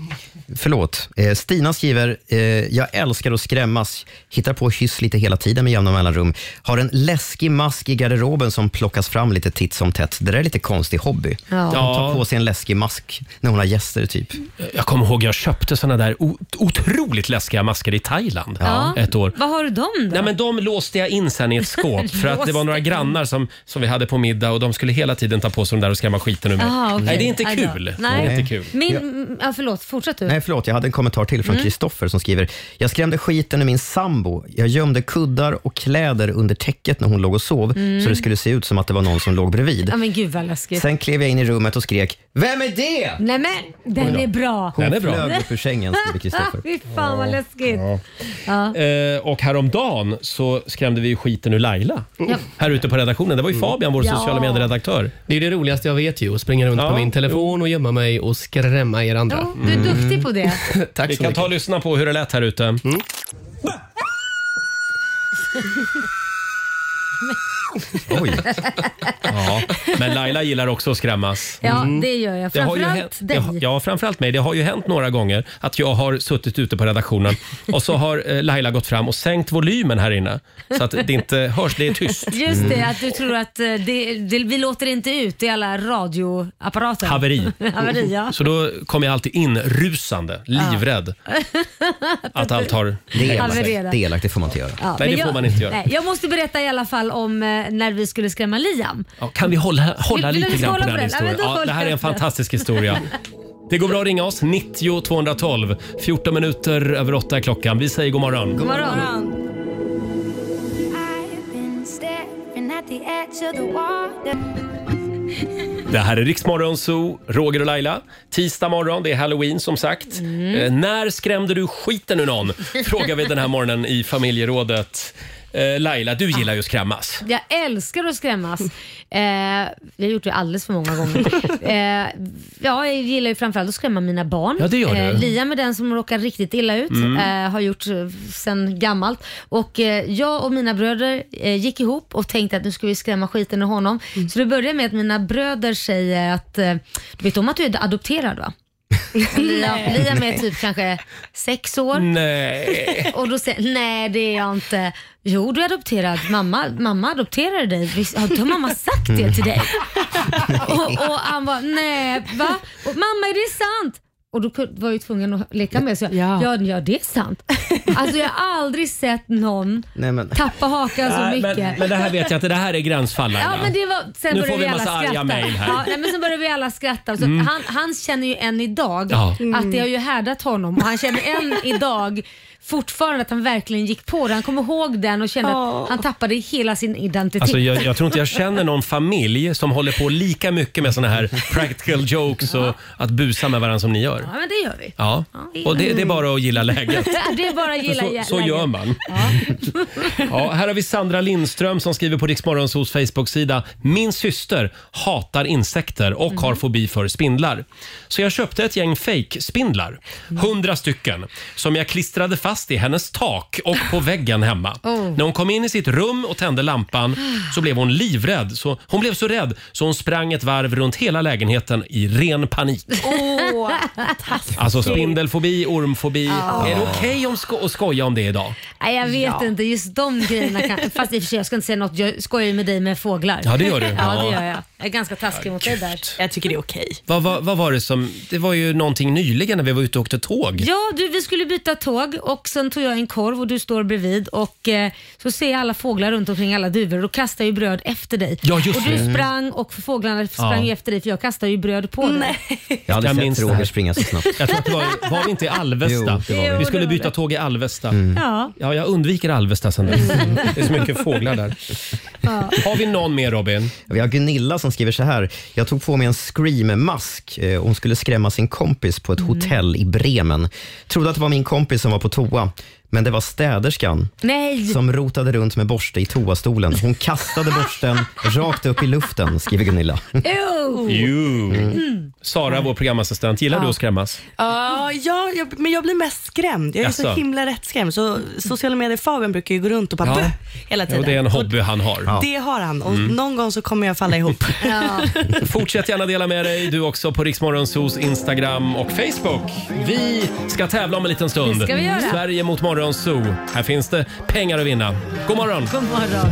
Förlåt. Eh, Stina skriver, eh, jag älskar att skrämmas, hittar på hyss lite hela tiden med jämna mellanrum. Har en läskig mask i garderoben som plockas fram lite titt som tätt. Det där är lite konstig hobby.
Ja.
Hon
Ja.
tar på sig en läskig mask när hon har gäster typ.
Jag kommer ihåg jag köpte såna där o- otroligt fick läskiga masker i Thailand
Ja.
ett år.
Vad har du dem då?
Nej, men de låste jag in sen i ett skåp för att det var några grannar som, som vi hade på middag och de skulle hela tiden ta på sig de där och skrämma skiten ur mig.
Jaha, Ah, okej.
Nej, det är inte
Aj då.
kul.
Nej.
Det är inte kul.
Min, ja, förlåt, fortsätt du.
Nej, förlåt. Jag hade en kommentar till från
Mm.
Kristoffer som skriver. Jag skrämde skiten ur min sambo. Jag gömde kuddar och kläder under täcket när hon låg och sov
Mm.
så det skulle se ut som att det var någon som låg bredvid.
Ja, men gud vad läskigt.
Sen klev jag in i rummet och skrek Vem är det?
Nej men,
Oj
den
då.
är bra.
Hon flög upp ur sängen, skriver Kristoffer.
Ah, Fy fan vad läskigt. Ja.
Eh, och häromdagen så skrämde vi ju skiten ur Laila
Oh. Ja. Mm.
här ute på redaktionen. Det var ju Fabian, vår
Ja.
sociala medieredaktör.
Det är det roligaste jag vet ju, att springa runt på min telefon och gömma mig och skrämma er andra.
Du är duktig på det.
Tack
Vi
så
kan
mycket.
ta och lyssna på hur det lät här ute.
Mm.
Oj. Ja, men Laila gillar också att skrämmas.
Ja, det gör jag.
Det har ju
Framförallt
hänt-
dig.
det har- Ja, framförallt mig. Det har ju hänt några gånger att jag har suttit ute på redaktionen och så har eh, Laila gått fram och sänkt volymen här inne så att det inte hörs, det är tyst.
Just
Mm.
det, att du tror att eh, det, det, vi låter inte ut i alla radioapparater.
Haveri.
Haveri, ja.
Så då kommer jag alltid in rusande, livrädd att allt har helat sig.
Havererat.
Delaktig får man inte göra.
Ja,
Nej,
men
det får
jag,
man inte göra.
Nej, jag måste berätta i alla fall om eh, när vi skulle skrämma Liam.
Ja, kan vi hålla, hålla
Vill- vill
lite
vi
grann
hålla
på
på
den
den? Ja,
historien?
men då
Ja,
håller
det här är
jag
en
på den.
fantastisk historia. Det går bra att ringa oss, 90 212. 14 minuter över 8 är klockan. Vi säger god morgon.
God morgon.
Det här är Riksmorgon Zoo, Roger och Laila. Tisdag morgon, det är halloween som sagt.
Mm.
Eh, när skrämde du skiten ur någon? Frågar vi den här morgonen i familjerådet. Eh, Laila, du gillar ju att skrämmas.
Jag älskar att skrämmas. Eh, jag har gjort det alldeles för många gånger. Eh, ja, jag gillar ju framförallt att skrämma mina barn.
Ja, det gör du.
Eh, Liam är den som råkar riktigt illa ut.
Mm.
Eh, har gjort eh, sen gammalt. Och, eh, jag och mina bröder eh, gick ihop och tänkte att nu ska vi skrämma skiten ur honom.
Mm.
Så det börjar med att mina bröder säger att, eh, du vet om att du är adopterad va? Liam, Liam är typ kanske sex år.
Nej.
Och då säger nej det är jag inte. Jo du är adopterad, mamma, mamma adopterade dig. Visst, Har har mamma sagt det till dig? och, och han var nej va? Och, mamma är det sant? Och då kunde- var jag ju tvungen att leka med så jag, ja. Ja, det är sant. Alltså jag har aldrig sett någon
Nej, men...
tappa hakan så
Nej,
mycket.
Men, men det här vet jag inte, det här är gränsfall Laila.
Ja, men det var, sen
Nu
började
får vi en
alla
massa arga
skratta.
mejl här.
Ja, nej, men sen började vi alla skratta. Så
Mm.
han, han känner ju än idag
Ja.
att
Mm.
det har ju härdat honom och han känner än idag fortfarande att han verkligen gick på det. Han kommer ihåg den och kände att han tappade hela sin identitet.
Alltså, jag, jag tror inte jag känner någon familj som håller på lika mycket med såna här practical jokes och att busa med varandra som ni gör.
Ja, men det gör vi.
Ja, och det, det är bara att gilla läget.
det är bara att gilla
så, så
läget.
gör man. Ja, här har vi Sandra Lindström som skriver på Riksmorgonsos Facebook-sida. Min syster hatar insekter och har fobi för spindlar. Så jag köpte ett gäng fake-spindlar, hundra stycken, som jag klistrade fast i hennes tak och på väggen hemma.
Oh.
När hon kom in i sitt rum och tände lampan så blev hon livrädd. Så, hon blev så rädd så hon sprang ett varv runt hela lägenheten i ren panik.
Åh,
Alltså spindelfobi, ormfobi.
Ja.
Är det okej om sko- att skoja om det idag?
Nej, jag vet
Ja.
inte, just de grejerna kan... Fast i och för sig, jag ska inte säga något. Jag skojar ju med dig med fåglar.
Ja, det gör du.
Ja, det
Ja.
gör jag. Jag är ganska taskig mot dig där.
Jag tycker det är okej.
Vad, vad, vad var det som... Det var ju någonting nyligen när vi var ute och åkte tåg.
Ja, du, vi skulle byta tåg och sen tog jag en korv och du står bredvid och eh, så ser jag alla fåglar runt omkring alla duvor och då kastar jag ju bröd efter dig.
Ja, just
och du
det.
sprang och fåglarna sprang ju efter dig för jag kastade ju bröd på dig.
Jag har aldrig
minns
sett
det
Roger
här.
springa så snabbt.
Jag tror att det var, var vi inte i Alvesta?
Jo, det var vi. Mm. Jo,
vi
det
skulle
var
byta tåg i Alvesta.
Ja.
Ja, jag undviker Alvesta sen dess. Det är så mycket fåglar där. Har vi någon mer Robin?
Vi har Gunilla som skriver så här. Jag tog på mig en scream-mask. Eh, Hon skulle skrämma sin kompis på ett hotell i Bremen. Trodde att det var min kompis som var på toa, men det var städerskan.
Nej!
Som rotade runt med borste i toastolen. Hon kastade borsten rakt upp i luften, skriver Gunilla.
Ew.
Jo. Sara, vår programassistent, gillar
Ja.
du att skrämmas?
Ja, ja, jag, men jag blir mest skrämd. Jag är så
Jaså?
himla rättskrämd. Så sociala medier-Fabian brukar ju gå runt och bara "Bäh!" hela tiden.
Jo, det är en hobby han har.
Och Det har han och
Mm.
någon gång så kommer jag falla ihop.
Fortsätt gärna dela med dig, du också, på Riksmorgonsos Instagram och Facebook. Vi ska tävla om en liten stund.
Det ska vi göra.
Sverige mot Morgonzoo. Här finns det pengar att vinna. God morgon!
God morgon.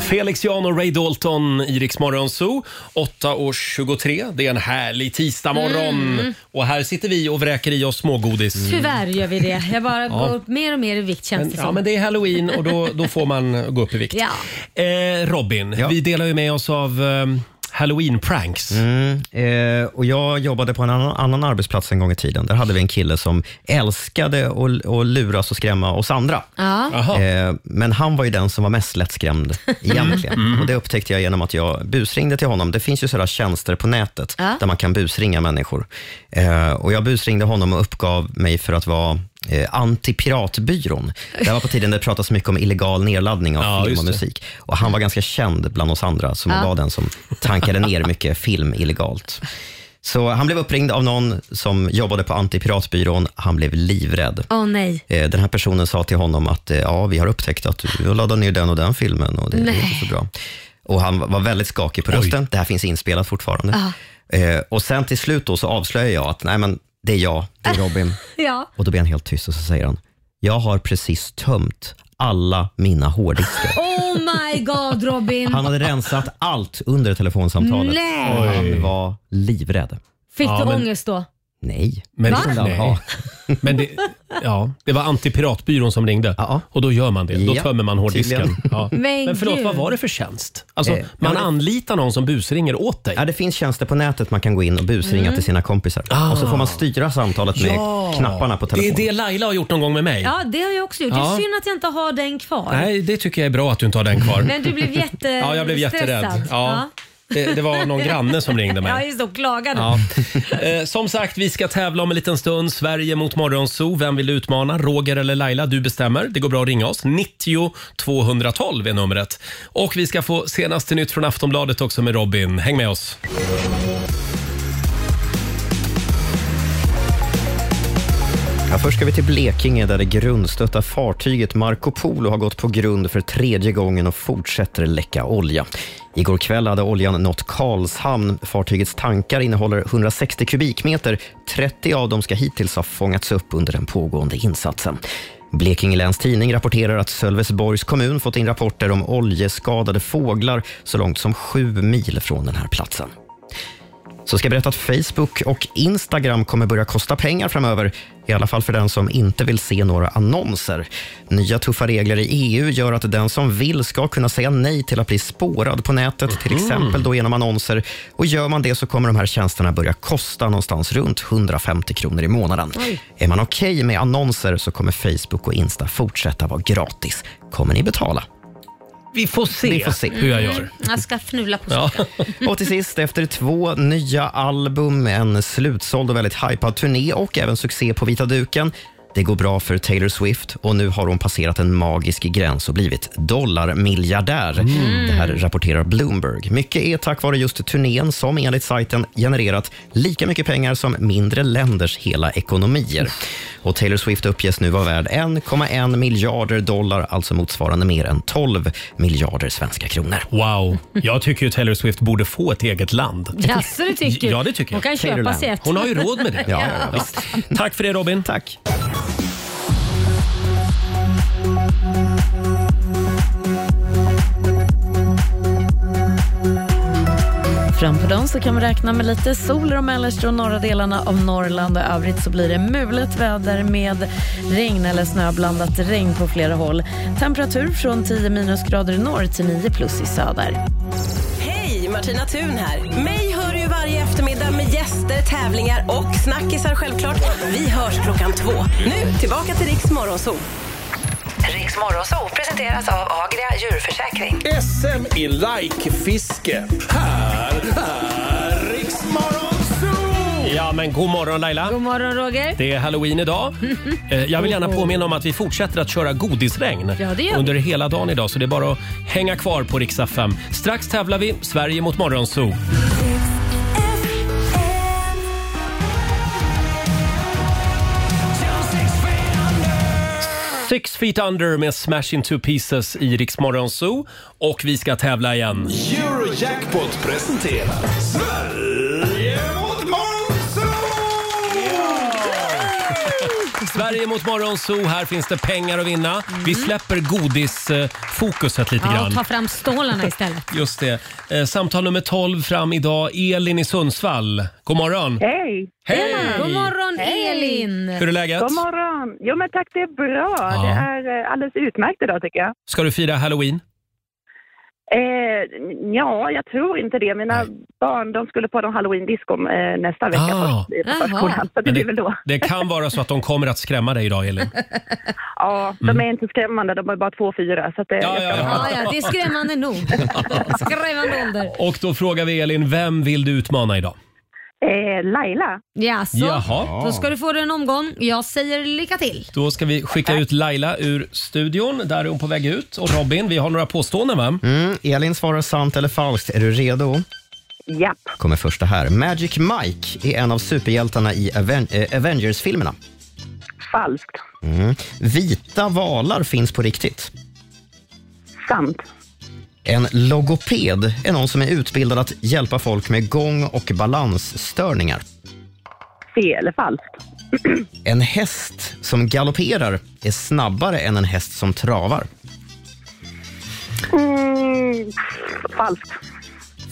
Felix Jan och Ray Dalton i Rix Morgon Zoo. 8.23. Det är en härlig tisdagmorgon.
Mm.
Och här sitter vi och vräker i oss smågodis.
Tyvärr gör vi det. Jag bara
Ja.
går upp mer och mer i vikt känns
Men,
det som.
ja, men det är halloween och då, då får man gå upp i vikt.
Ja.
Eh, Robin, vi delar ju med oss av ehm, halloween-pranks.
Mm, eh, och jag jobbade på en annan, annan arbetsplats en gång i tiden. Där hade vi en kille som älskade att att luras och skrämma oss andra.
Ja. Jaha.
Eh, men han var ju den som var mest lättskrämd egentligen.
Mm.
Och det upptäckte jag genom att jag busringde till honom. Det finns ju sådana tjänster på nätet
Ja.
där man kan busringa människor. Eh, och jag busringde honom och uppgav mig för att vara Eh, Antipiratbyrån. Det var på tiden det pratades mycket om illegal nedladdning av
Ja,
film
just
och
det.
musik. Och han var ganska känd bland oss andra som
Ja.
var den som tankade ner mycket film illegalt. Så han blev uppringd av någon som jobbade på Antipiratbyrån. Han blev livrädd.
Åh nej.
Eh, Den här personen sa till honom att eh, ja, vi har upptäckt att du laddar ner den och den filmen och det är
Nej.
inte så bra. Och han var väldigt skakig på rösten. Det här finns inspelat fortfarande.
Ja.
Eh, Och sen till slut då så avslöjar jag att nej, men det är jag, det är
Ah.
Robin.
Ja.
Och då blir han helt tyst och så säger han, jag har precis tömt alla mina hårddiskar.
Oh my god Robin.
Han hade rensat allt under telefonsamtalet.
Nej.
Och
Oj.
han var livrädd.
Fick du ångest då?
Nej.
Men,
Va?
nej. Men det, ja, det var Antipiratbyrån som ringde och då gör man det. Då
Ja,
tömmer man hårddisken.
tydligen.
Ja.
Men
Men förlåt,
gud.
vad var det för tjänst? Alltså,
Eh,
man
ja, det-
anlitar någon som busringer åt dig.
Ja, det finns tjänster på nätet man kan gå in och busringa
Mm.
till sina kompisar.
Ah.
Och så får man styra samtalet med
Ja.
knapparna på telefonen.
Det är det Laila har gjort någon gång med mig.
Ja, det har jag också gjort. Det
Ja.
är synd att jag inte har den kvar.
Nej, det tycker jag är bra att du inte har den kvar.
Men du blev jätte-
Ja, jag blev jätterädd. Ja.
Eh, stressad. Ja.
Det, det var någon granne som ringde mig.
Ja, just det. och Klagade.
Ja. Eh, som sagt, vi ska tävla om en liten stund. Sverige mot Morgonzoo. Vem vill du utmana? Roger eller Laila? Du bestämmer. Det går bra att ringa oss. 90 212 är numret. Och vi ska få senaste nytt från Aftonbladet också med Robin. Häng med oss.
Ja, först ska vi till Blekinge där det grundstötta fartyget Marco Polo har gått på grund för tredje gången och fortsätter läcka olja. Igår kväll hade oljan nått Karlshamn. Fartygets tankar innehåller 160 kubikmeter. 30 av dem ska hittills ha fångats upp under den pågående insatsen. Blekinge Läns Tidning rapporterar att Sölvesborgs kommun fått in rapporter om oljeskadade fåglar så långt som sju mil från den här platsen så ska jag berätta att Facebook och Instagram kommer börja kosta pengar framöver. I alla fall för den som inte vill se några annonser. Nya tuffa regler i EU gör att den som vill ska kunna säga nej till att bli spårad på nätet, till
Mhm.
exempel då genom annonser. Och Gör man det så kommer de här tjänsterna börja kosta någonstans runt 150 kronor i månaden.
Oj.
Är man okej med annonser så kommer Facebook och Insta fortsätta vara gratis. Kommer ni betala?
Vi får se,
Vi får se. hur jag gör.
Jag ska fnula på
Ja.
saken.
Och till sist, efter två nya album, en slutsåld och väldigt hypad turné och även succé på vita duken. Det går bra för Taylor Swift och nu har hon passerat en magisk gräns och blivit dollarmiljardär. Det här rapporterar Bloomberg. Mycket är tack vare just turnén som enligt sajten genererat lika mycket pengar som mindre länders hela ekonomier. Och Taylor Swift uppges nu vara värd 1,1 miljarder dollar, alltså motsvarande mer än 12 miljarder svenska kronor.
Wow. Jag tycker ju Taylor Swift borde få ett eget land.
Jaså, det tycker du?
Ja, det tycker jag.
Hon kan köpa
Taylorland.
sig ett.
Hon har ju råd med det.
Ja,
ja,
Visst. Tack för det Robin.
Tack.
Fram på dagen så kan vi räkna med lite sol i de mellersta och norra delarna av Norrland. Och i övrigt så blir det mulet väder med regn eller snöblandat regn på flera håll. Temperatur från 10 minusgrader i norr till 9 plus i söder.
Hej, Martina Thun här. Mig hör du ju varje eftermiddag med gäster, tävlingar och snackisar självklart. Vi hörs klockan två. Nu tillbaka till Riks Morgonzoo.
Riks Morgonzoo presenteras av Agria djurförsäkring.
SM i like-fiske. Här är Riksmorgon Zoo!
Ja, men god morgon Laila.
God morgon Roger.
Det är halloween idag. Eh, Jag vill gärna påminna om att vi fortsätter att köra godisregn
Ja, det gör vi.
under hela dagen idag. Så det är bara att hänga kvar på Rix FM. Strax tävlar vi Sverige mot Morgonzoo. Six feet under med Smash into pieces i Rix Morgonzoo. Och vi ska tävla igen.
Eurojackpot presenterar Sverige mot Morgonzoo!
Sverige mot Morgonzoo. Här finns det pengar att vinna. Vi släpper godisfokuset lite
Mm. Ja,
grann.
ta fram stålarna istället.
Just det. Eh, Samtal nummer 12 fram idag. Elin i Sundsvall. God morgon!
Hej!
Hej!
God morgon
Hej.
Elin!
Hur är läget?
God morgon! Jo men tack, det är bra.
Ja.
Det är eh, alldeles utmärkt idag tycker jag.
Ska du fira halloween?
Eh, ja, jag tror inte det. Mina barn de skulle på en halloween-disco eh, nästa vecka
Ah.
på, eh, på
Jaha.
förskolan. Så det
Men
blir väl då.
Det kan vara så att de kommer att skrämma dig idag, Elin.
Ja, de är inte skrämmande. De är bara två och fyra. Så att, eh, jag ska-
Ja, ja, det är skrämmande nog. Skrämmande ålder.
Och då frågar vi Elin, vem vill du utmana idag?
Eh, Laila.
Jaså?
Jaha.
Då ska du få dig en omgång. Jag säger lycka till.
Då ska vi skicka ut Laila ur studion. Där är hon på väg ut. Och Robin, vi har några påståenden va?
Mm, Elin svarar sant eller falskt. Är du redo?
Japp.
Kommer första här. Magic Mike är en av superhjältarna i Aven- eh, Avengers-filmerna.
Falskt.
Mm. Vita valar finns på riktigt.
Sant.
En logoped är någon som är utbildad att hjälpa folk med gång och balansstörningar.
Fel. Falskt.
En häst som galopperar är snabbare än en häst som travar.
Mm, falskt.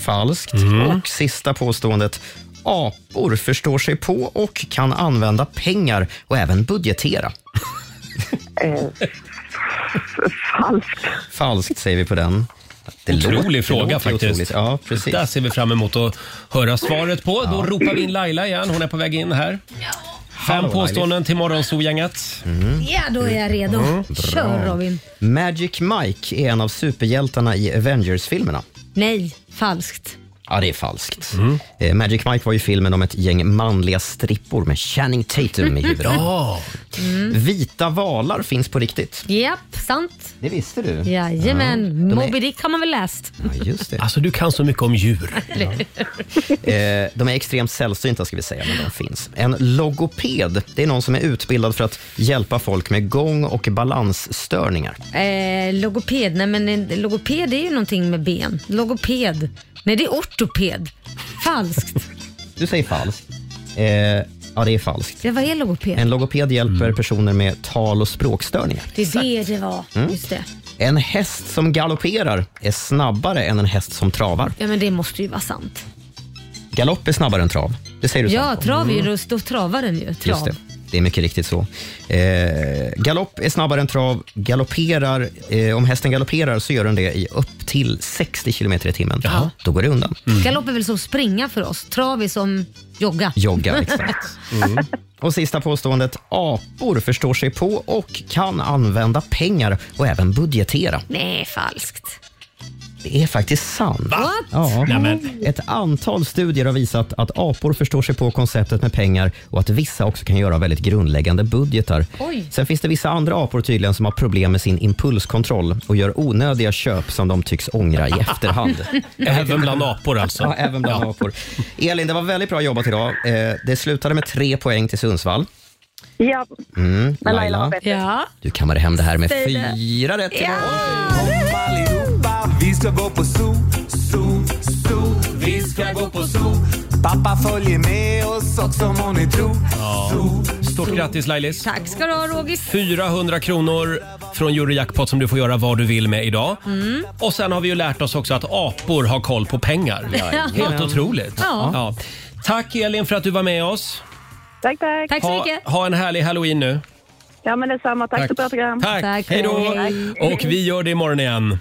Falskt.
Mm.
Och sista påståendet. Apor förstår sig på och kan använda pengar och även budgetera.
Eh, falskt.
Falskt säger vi på den.
Otrolig
låter- det
fråga
låter
faktiskt.
otroligt. Ja, precis.
Där ser vi fram emot att höra svaret på. Då
Ja.
ropar vi in Laila igen. Hon är på väg in här. Fem
Hallå,
påståenden till Morgonzoo-gänget.
Ja, då är jag redo.
Mm, bra.
Kör Robin.
Magic Mike är en av superhjältarna i Avengers-filmerna.
Nej, falskt.
Ja, det är falskt. Eh, Magic Mike var ju filmen om ett gäng manliga strippor med Channing Tatum i huvudrollen.
Ja. Mm.
Vita valar finns på riktigt.
Japp, sant.
Det visste du?
Jajamän.
Ja. De är-
Moby Ah. Dick har man väl läst?
Ja, just det.
Alltså, du kan så mycket om djur.
Eller hur?
Eh, de är extremt sällsynta ska vi säga, men de finns. En logoped, det är någon som är utbildad för att hjälpa folk med gång och balansstörningar.
Eh, logoped, nej men en logoped är ju någonting med ben. Logoped. Nej, det är ortoped. Falskt.
Du säger falskt. Eh, ja, det är falskt.
Det, vad är logoped?
En logoped hjälper
Mm.
personer med tal och språkstörningar.
det är det det var.
Mm.
Just det.
En häst som galopperar är snabbare än en häst som travar.
Ja, men det måste ju vara sant.
Galopp är snabbare än trav. Det säger du
Ja,
sant om.
trav är ju
Mm.
rust och travaren ju. Trav.
Just det. Det är mycket riktigt så. Eh, galopp är snabbare än trav. Galopperar, eh, om hästen galopperar så gör den det i upp till 60 km i timmen. Då går det undan.
Galopp är väl som springa för oss. Trav är som jogga.
Jogga, exakt. Mm. Och sista påståendet. Apor förstår sig på och kan använda pengar och även budgetera.
Nej, falskt.
Det är faktiskt sant.
What?
Ja.
Nej, men-
Ett antal studier har visat att apor förstår sig på konceptet med pengar och att vissa också kan göra väldigt grundläggande budgetar.
Oj.
Sen finns det vissa andra apor tydligen som har problem med sin impulskontroll och gör onödiga köp som de tycks ångra i efterhand.
Även bland apor alltså.
Ja, även bland
Ja.
apor. Elin, det var väldigt bra jobbat idag. Eh, Det slutade med tre poäng till Sundsvall.
Ja,
Mm,
men Laila
Laila,
var bättre. Ja.
du kammade hem det här med
Säg det.
fyra rätt.
Ja.
Kom allihopa, vi ska gå på zoo, zoo, zoo. Vi ska gå på zoo. Pappa följer med oss också må ni tro.
Ja. Stort grattis Lailis.
Tack ska du ha Rogis.
400 kronor från Eurojackpot som du får göra vad du vill med idag. Mm. Och sen har vi ju lärt oss också att apor har koll på pengar.
Ja.
Helt otroligt.
Ja.
Tack Elin för att du var med oss.
Tack, tack.
ha, Ha en härlig halloween nu.
Ja, men detsamma. Tack,
Tack.
för ett bra program.
Tack, hej då. Och vi gör det imorgon igen.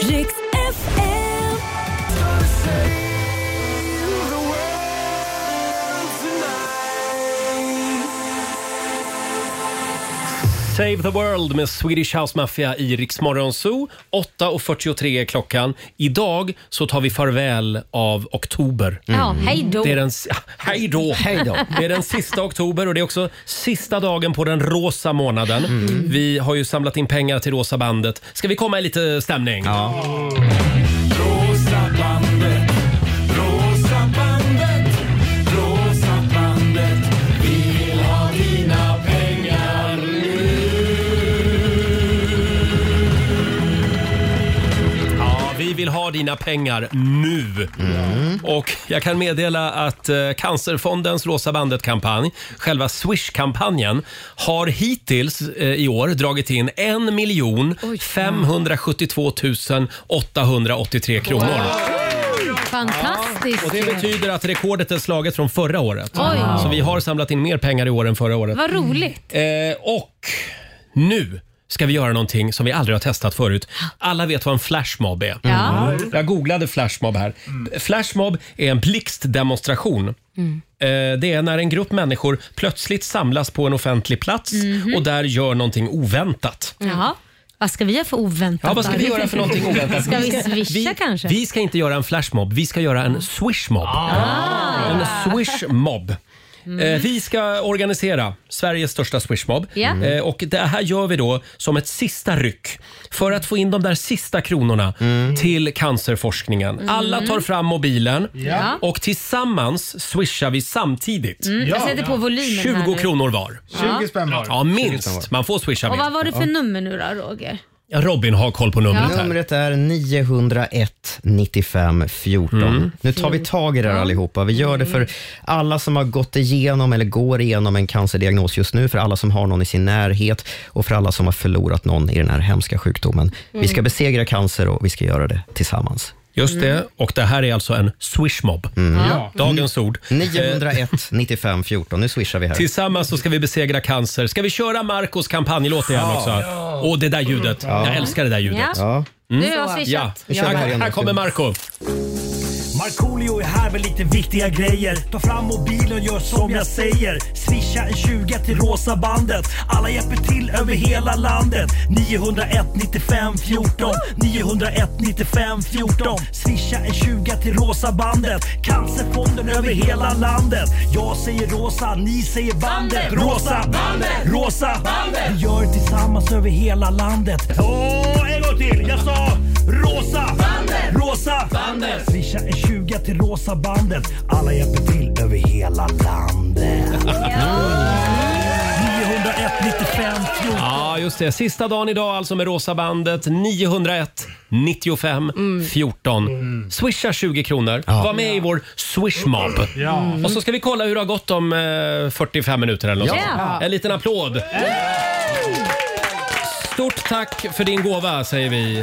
Riks FM.
Save the World med Swedish House Mafia i Rix Morgon Zoo. 8.43 är klockan. Idag så tar vi farväl av oktober.
Ja, Mm. hej då.
Det är den, s- ja, hej då!
Hej då.
Det är den sista oktober och det är också sista dagen på den rosa månaden. Vi har ju samlat in pengar till Rosa bandet. Ska vi komma i lite stämning?
Rosa bandet, rosa bandet, rosa bandet. Vi vill ha dina pengar nu.
Ja, vi vill ha dina mina pengar nu. Och jag kan meddela att eh, Cancerfondens Rosa bandet-kampanj, själva Swish-kampanjen, har hittills eh, i år dragit in 1 572 883 kronor.
Fantastiskt
Och det
ju.
betyder att rekordet är slaget från förra året.
Oj.
Så vi har samlat in mer pengar i år än förra året.
Vad roligt.
Eh, och nu ska vi göra någonting som vi aldrig har testat förut. Alla vet vad en flashmob är.
Ja. Mm.
Jag googlade flashmob här.
Mm.
Flashmob är en blixtdemonstration. Eh, Det är när en grupp människor plötsligt samlas på en offentlig plats
Mhm.
och där gör någonting oväntat.
Jaha. Vad ska vi göra för oväntat?
Mm. Ja, vad ska
då?
vi göra för någonting oväntat?
Ska vi
vi,
swisha kanske?
Vi ska inte göra en flashmob, vi ska göra en swishmob. En swishmob. Eh, Vi ska organisera Sveriges största swishmob.
Ja. Mm.
Eh, Och det här gör vi då som ett sista ryck för att få in de där sista kronorna till cancerforskningen.
Mm.
Alla tar fram mobilen
Ja.
och tillsammans swishar vi samtidigt.
Mm, jag sätter på volymen här
20
nu.
kronor var.
20 spänn var.
Ja,
20 spänn
minst.
var.
Man får swisha
Och
mer.
vad var det för
Ja.
nummer nu då, Roger?
Ja, Robin har koll på numret
Ja.
här.
Numret är 901 95 14. Nu tar vi tag i det här allihopa. Vi gör det för alla som har gått igenom eller går igenom en cancerdiagnos just nu, för alla som har någon i sin närhet och för alla som har förlorat någon i den här hemska sjukdomen. Vi ska
Mm.
besegra cancer och vi ska göra det tillsammans.
Just det. Och det här är alltså en swishmob.
Ja.
Dagens ord.
901 95 14. Nu swishar vi här.
Tillsammans så ska vi besegra cancer. Ska vi köra Marcos kampanjlåt igen
Ja.
också? Och det där ljudet. Jag älskar det där ljudet.
Ja.
Mm.
Nu har jag swishat.
Ja.
Nu kör vi här
Här,
igen.
här kommer Marco
Markoolio är här med lite viktiga grejer. Ta fram mobilen, gör som jag säger. Swisha en 20 till rosa bandet. Alla hjälper till över hela landet. 901 95 14. 901 95 14. Swisha en 20 till rosa bandet. Cancerfonden över hela landet. Jag säger rosa, ni säger bandet. Rosa bandet, rosa bandet. Vi gör det tillsammans över hela landet. Åh, en gång till. Jag sa rosa bandet, rosa bandet. Swisha en 20 till rosa bandet. Alla hjälper till över hela landet. 901 95 14.
Ja, just det. Sista dagen idag alltså med Rosa bandet. 901 95 14.
Mm.
Swisha 20 kronor. Var med i vår swishmob.
Ja. Mm.
Och så ska vi kolla hur det har gått om eh, 45 minuter eller något
Ja.
sånt. En liten applåd. Stort tack för din gåva säger vi.